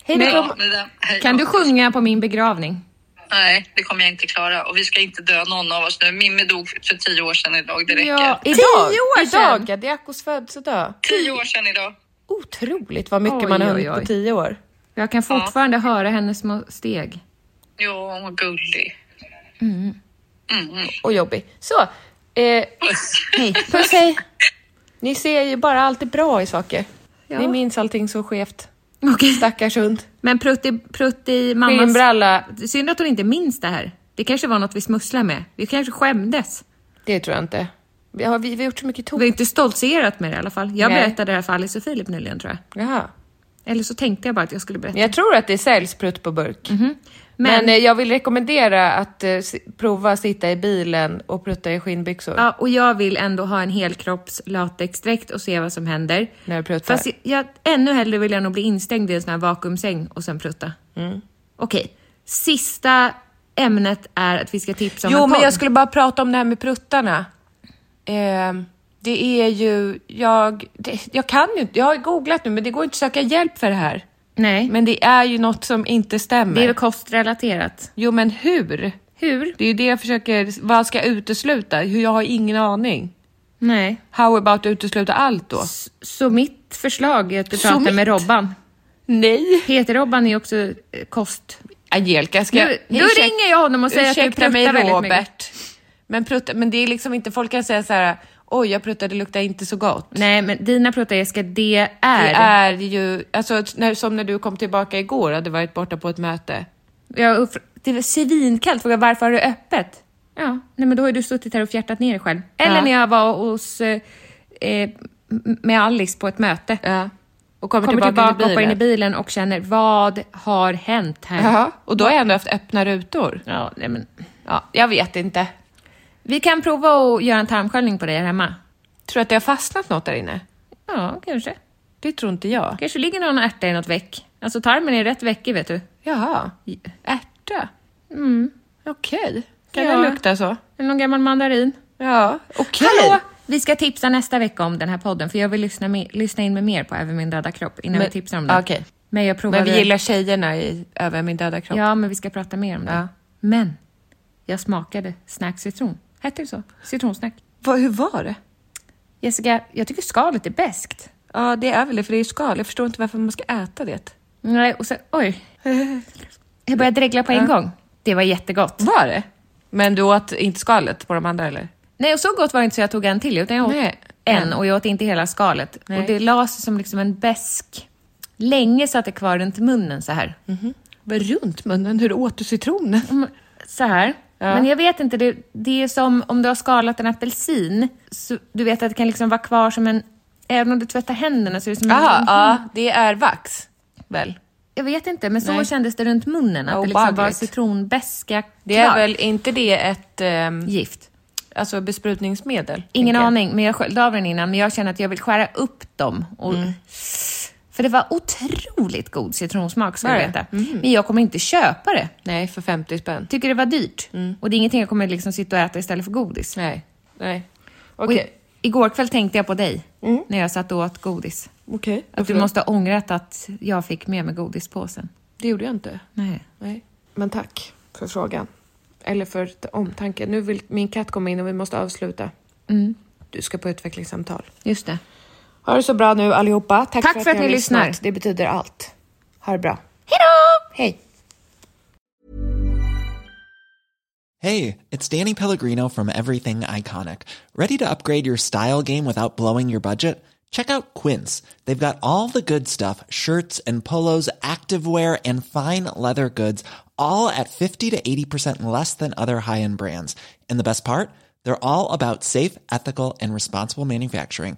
S2: Hej då.
S5: Ja, det där- hej
S1: Kan
S5: då.
S1: du sjunga på min begravning?
S5: Nej, det kommer jag inte klara. Och vi ska inte dö någon av oss nu. Mimmi dog för tio år sedan idag, det räcker.
S1: Ja.
S2: Idag,
S1: Tio år sedan.
S2: Idag, Adiakos födelsedag.
S5: Tio år sedan idag.
S2: Otroligt vad mycket
S1: Oj,
S2: man har
S1: oj,
S2: hunnit på
S1: oj.
S2: tio år.
S1: Jag kan fortfarande höra hennes små steg.
S5: Jo, hon var gullig.
S2: och jobbig. Så, eh, hej. Puss hej. Ni ser ju bara allt det bra i saker. Ni minns allting så skevt.
S1: Okej.
S2: Stackars hund.
S1: Men prutt i, prutt i mammas...
S2: Skinnbralla.
S1: Synd att hon inte minns det här. Det kanske var något vi smusslade med. Vi kanske skämdes.
S2: Det tror jag inte. Vi har, vi, vi har gjort så mycket tok.
S1: Vi har inte stoltserat med det i alla fall. Jag
S2: Nej.
S1: berättade det här för Alice och Filip nyligen tror jag.
S2: Jaha.
S1: Eller så tänkte jag bara att jag skulle berätta.
S2: Men jag tror att det säljs prutt på burk. Men,
S1: Mhm. Men-
S2: eh, jag vill rekommendera att eh, s- prova att sitta i bilen och prutta i skinnbyxor.
S1: Ja, och jag vill ändå ha en helkropps latexdräkt och se vad som händer.
S2: När du pruttar.
S1: Fast jag, jag, ännu hellre vill jag nog bli instängd i en sån här vakuumsäng och sen prutta.
S2: Mm.
S1: Okej, sista ämnet är att vi ska tipsa om
S2: Jo,
S1: en
S2: men
S1: podd.
S2: jag skulle bara prata om det här med pruttarna. Ehm, det är ju, jag, det, jag kan ju inte, jag har googlat nu men det går inte att söka hjälp för det här.
S1: Nej,
S2: Men det är ju något som inte stämmer.
S1: det är väl kostrelaterat.
S2: Jo, men hur?
S1: Hur?
S2: Det är ju det jag försöker, vad ska jag utesluta? Hur jag har ingen aning.
S1: Nej.
S2: How about utesluta allt då?
S1: Så mitt förslag är att du
S2: Så
S1: pratar
S2: mitt?
S1: med Robban.
S2: Nej.
S1: Peter-Robban är också eh, kost...
S2: Angelica, ska
S1: Nu-
S2: jag...
S1: nu ringer jag honom och säger att du
S2: ursäkta mig,
S1: pruttar väldigt mycket.
S2: Robert. Men, prutta, men det är liksom inte, folk kan säga så här, oj jag pruttade, det luktar inte så gott.
S1: Nej, men dina pruttar Jessica, det är...
S2: Det är ju, alltså när, som när du kom tillbaka igår och hade varit borta på ett möte.
S1: Jag uppfr- det var svinkallt. Frågade varför har du öppet? Ja, nej men då har ju du suttit här och fjärtat ner dig själv. Eller
S2: Ja.
S1: när jag var hos, eh, eh, m- med Alice på ett möte.
S2: Ja. Och kommer,
S1: Kommer
S2: tillbaka,
S1: tillbaka,
S2: till
S1: hoppar
S2: bilen.
S1: in i bilen och känner vad har hänt här?
S2: Jaha, och då har jag ändå haft öppna rutor.
S1: Ja, nej men.
S2: Ja, jag vet inte.
S1: Vi kan prova att göra en tarmsköljning på dig här hemma.
S2: Tror du att det har fastnat något där inne?
S1: Ja, kanske.
S2: Det tror inte jag.
S1: Kanske ligger någon ärta i något veck. Alltså tarmen är rätt veckig vet du.
S2: Jaha. Ärta? Mm. Okej. Kan
S1: Ja.
S2: det lukta så?
S1: Eller någon gammal mandarin.
S2: Ja, okej.
S1: Hallå! Vi ska tipsa nästa vecka om den här podden, för jag vill lyssna, med, lyssna in med mer på Över min döda kropp innan
S2: Men-
S1: vi tipsar om den.
S2: okej.
S1: Men jag provar
S2: Men vi gillar tjejerna i Över min döda kropp.
S1: Ja, men vi ska prata mer om det.
S2: Ja.
S1: Men, jag smakade snack citron. Hette det så? Citronsnack.
S2: Vad- hur var det?
S1: Jessica, jag tycker skalet är bäst.
S2: Ja, det är väl det, för det är ju skal. Jag förstår inte varför man ska äta det.
S1: Nej, och så, oj. Jag började dregla på en gång. Det var jättegott.
S2: Var det? Men du åt inte skalet på de andra eller?
S1: Nej, och så gott var det inte så jag tog en till, utan jag åt
S2: Nej, en.
S1: en och jag åt inte hela skalet.
S2: Nej.
S1: Och det la sig som liksom en besk Länge satt det kvar runt munnen så här.
S2: Var runt munnen? Hur åt du citronen?
S1: Mm, Så här. Men jag vet inte, det, det är som om du har skalat en apelsin. Så du vet att det kan liksom vara kvar som en... Även om du tvättar händerna så är det som en...
S2: Jaha, ja, det är vax väl?
S1: Jag vet inte, men så
S2: Nej.
S1: kändes det runt munnen. Att
S2: Ja,
S1: det liksom var
S2: obehagligt.
S1: citronbeska
S2: Det är
S1: kvar.
S2: väl inte det ett ehm,
S1: gift.
S2: alltså besprutningsmedel?
S1: Ingen
S2: tänker jag.
S1: aning, men jag sköljde av den innan. Men jag känner att jag vill skära upp dem. Och,
S2: Mm.
S1: För det var otroligt god citronsmak, ska
S2: Var
S1: du
S2: det? Mm.
S1: veta. Men jag kommer inte köpa det.
S2: Nej, för 50 spänn. Mm.
S1: Tycker det var dyrt. Och det är ingenting jag kommer liksom sitta och äta istället för godis.
S2: Nej, nej.
S1: Och
S2: Okej. Mm.
S1: i- Igår kväll tänkte jag på dig, när jag satt och åt godis.
S2: Okej.
S1: Att du måste ha ångrat att jag fick med mig godispåsen.
S2: Det gjorde jag inte.
S1: Nej.
S2: Nej. Men tack för frågan. Eller för t- omtanken. Nu vill min katt komma in och vi måste avsluta. Du ska på utvecklingssamtal.
S1: Just det.
S2: Ha det så bra nu allihopa. Tack,
S1: Tack för att
S2: ni har
S1: ni lyssnar.
S2: lyssnat. Det betyder allt. Ha det bra. Hej!
S6: Hey, it's Danny Pellegrino from Everything Iconic. Ready to upgrade your style game without blowing your budget? Check out Quince. They've got all the good stuff shirts and polos, activewear, and fine leather goods, all at 50 to 80% less than other high end brands. And the best part? They're all about safe, ethical, and responsible manufacturing.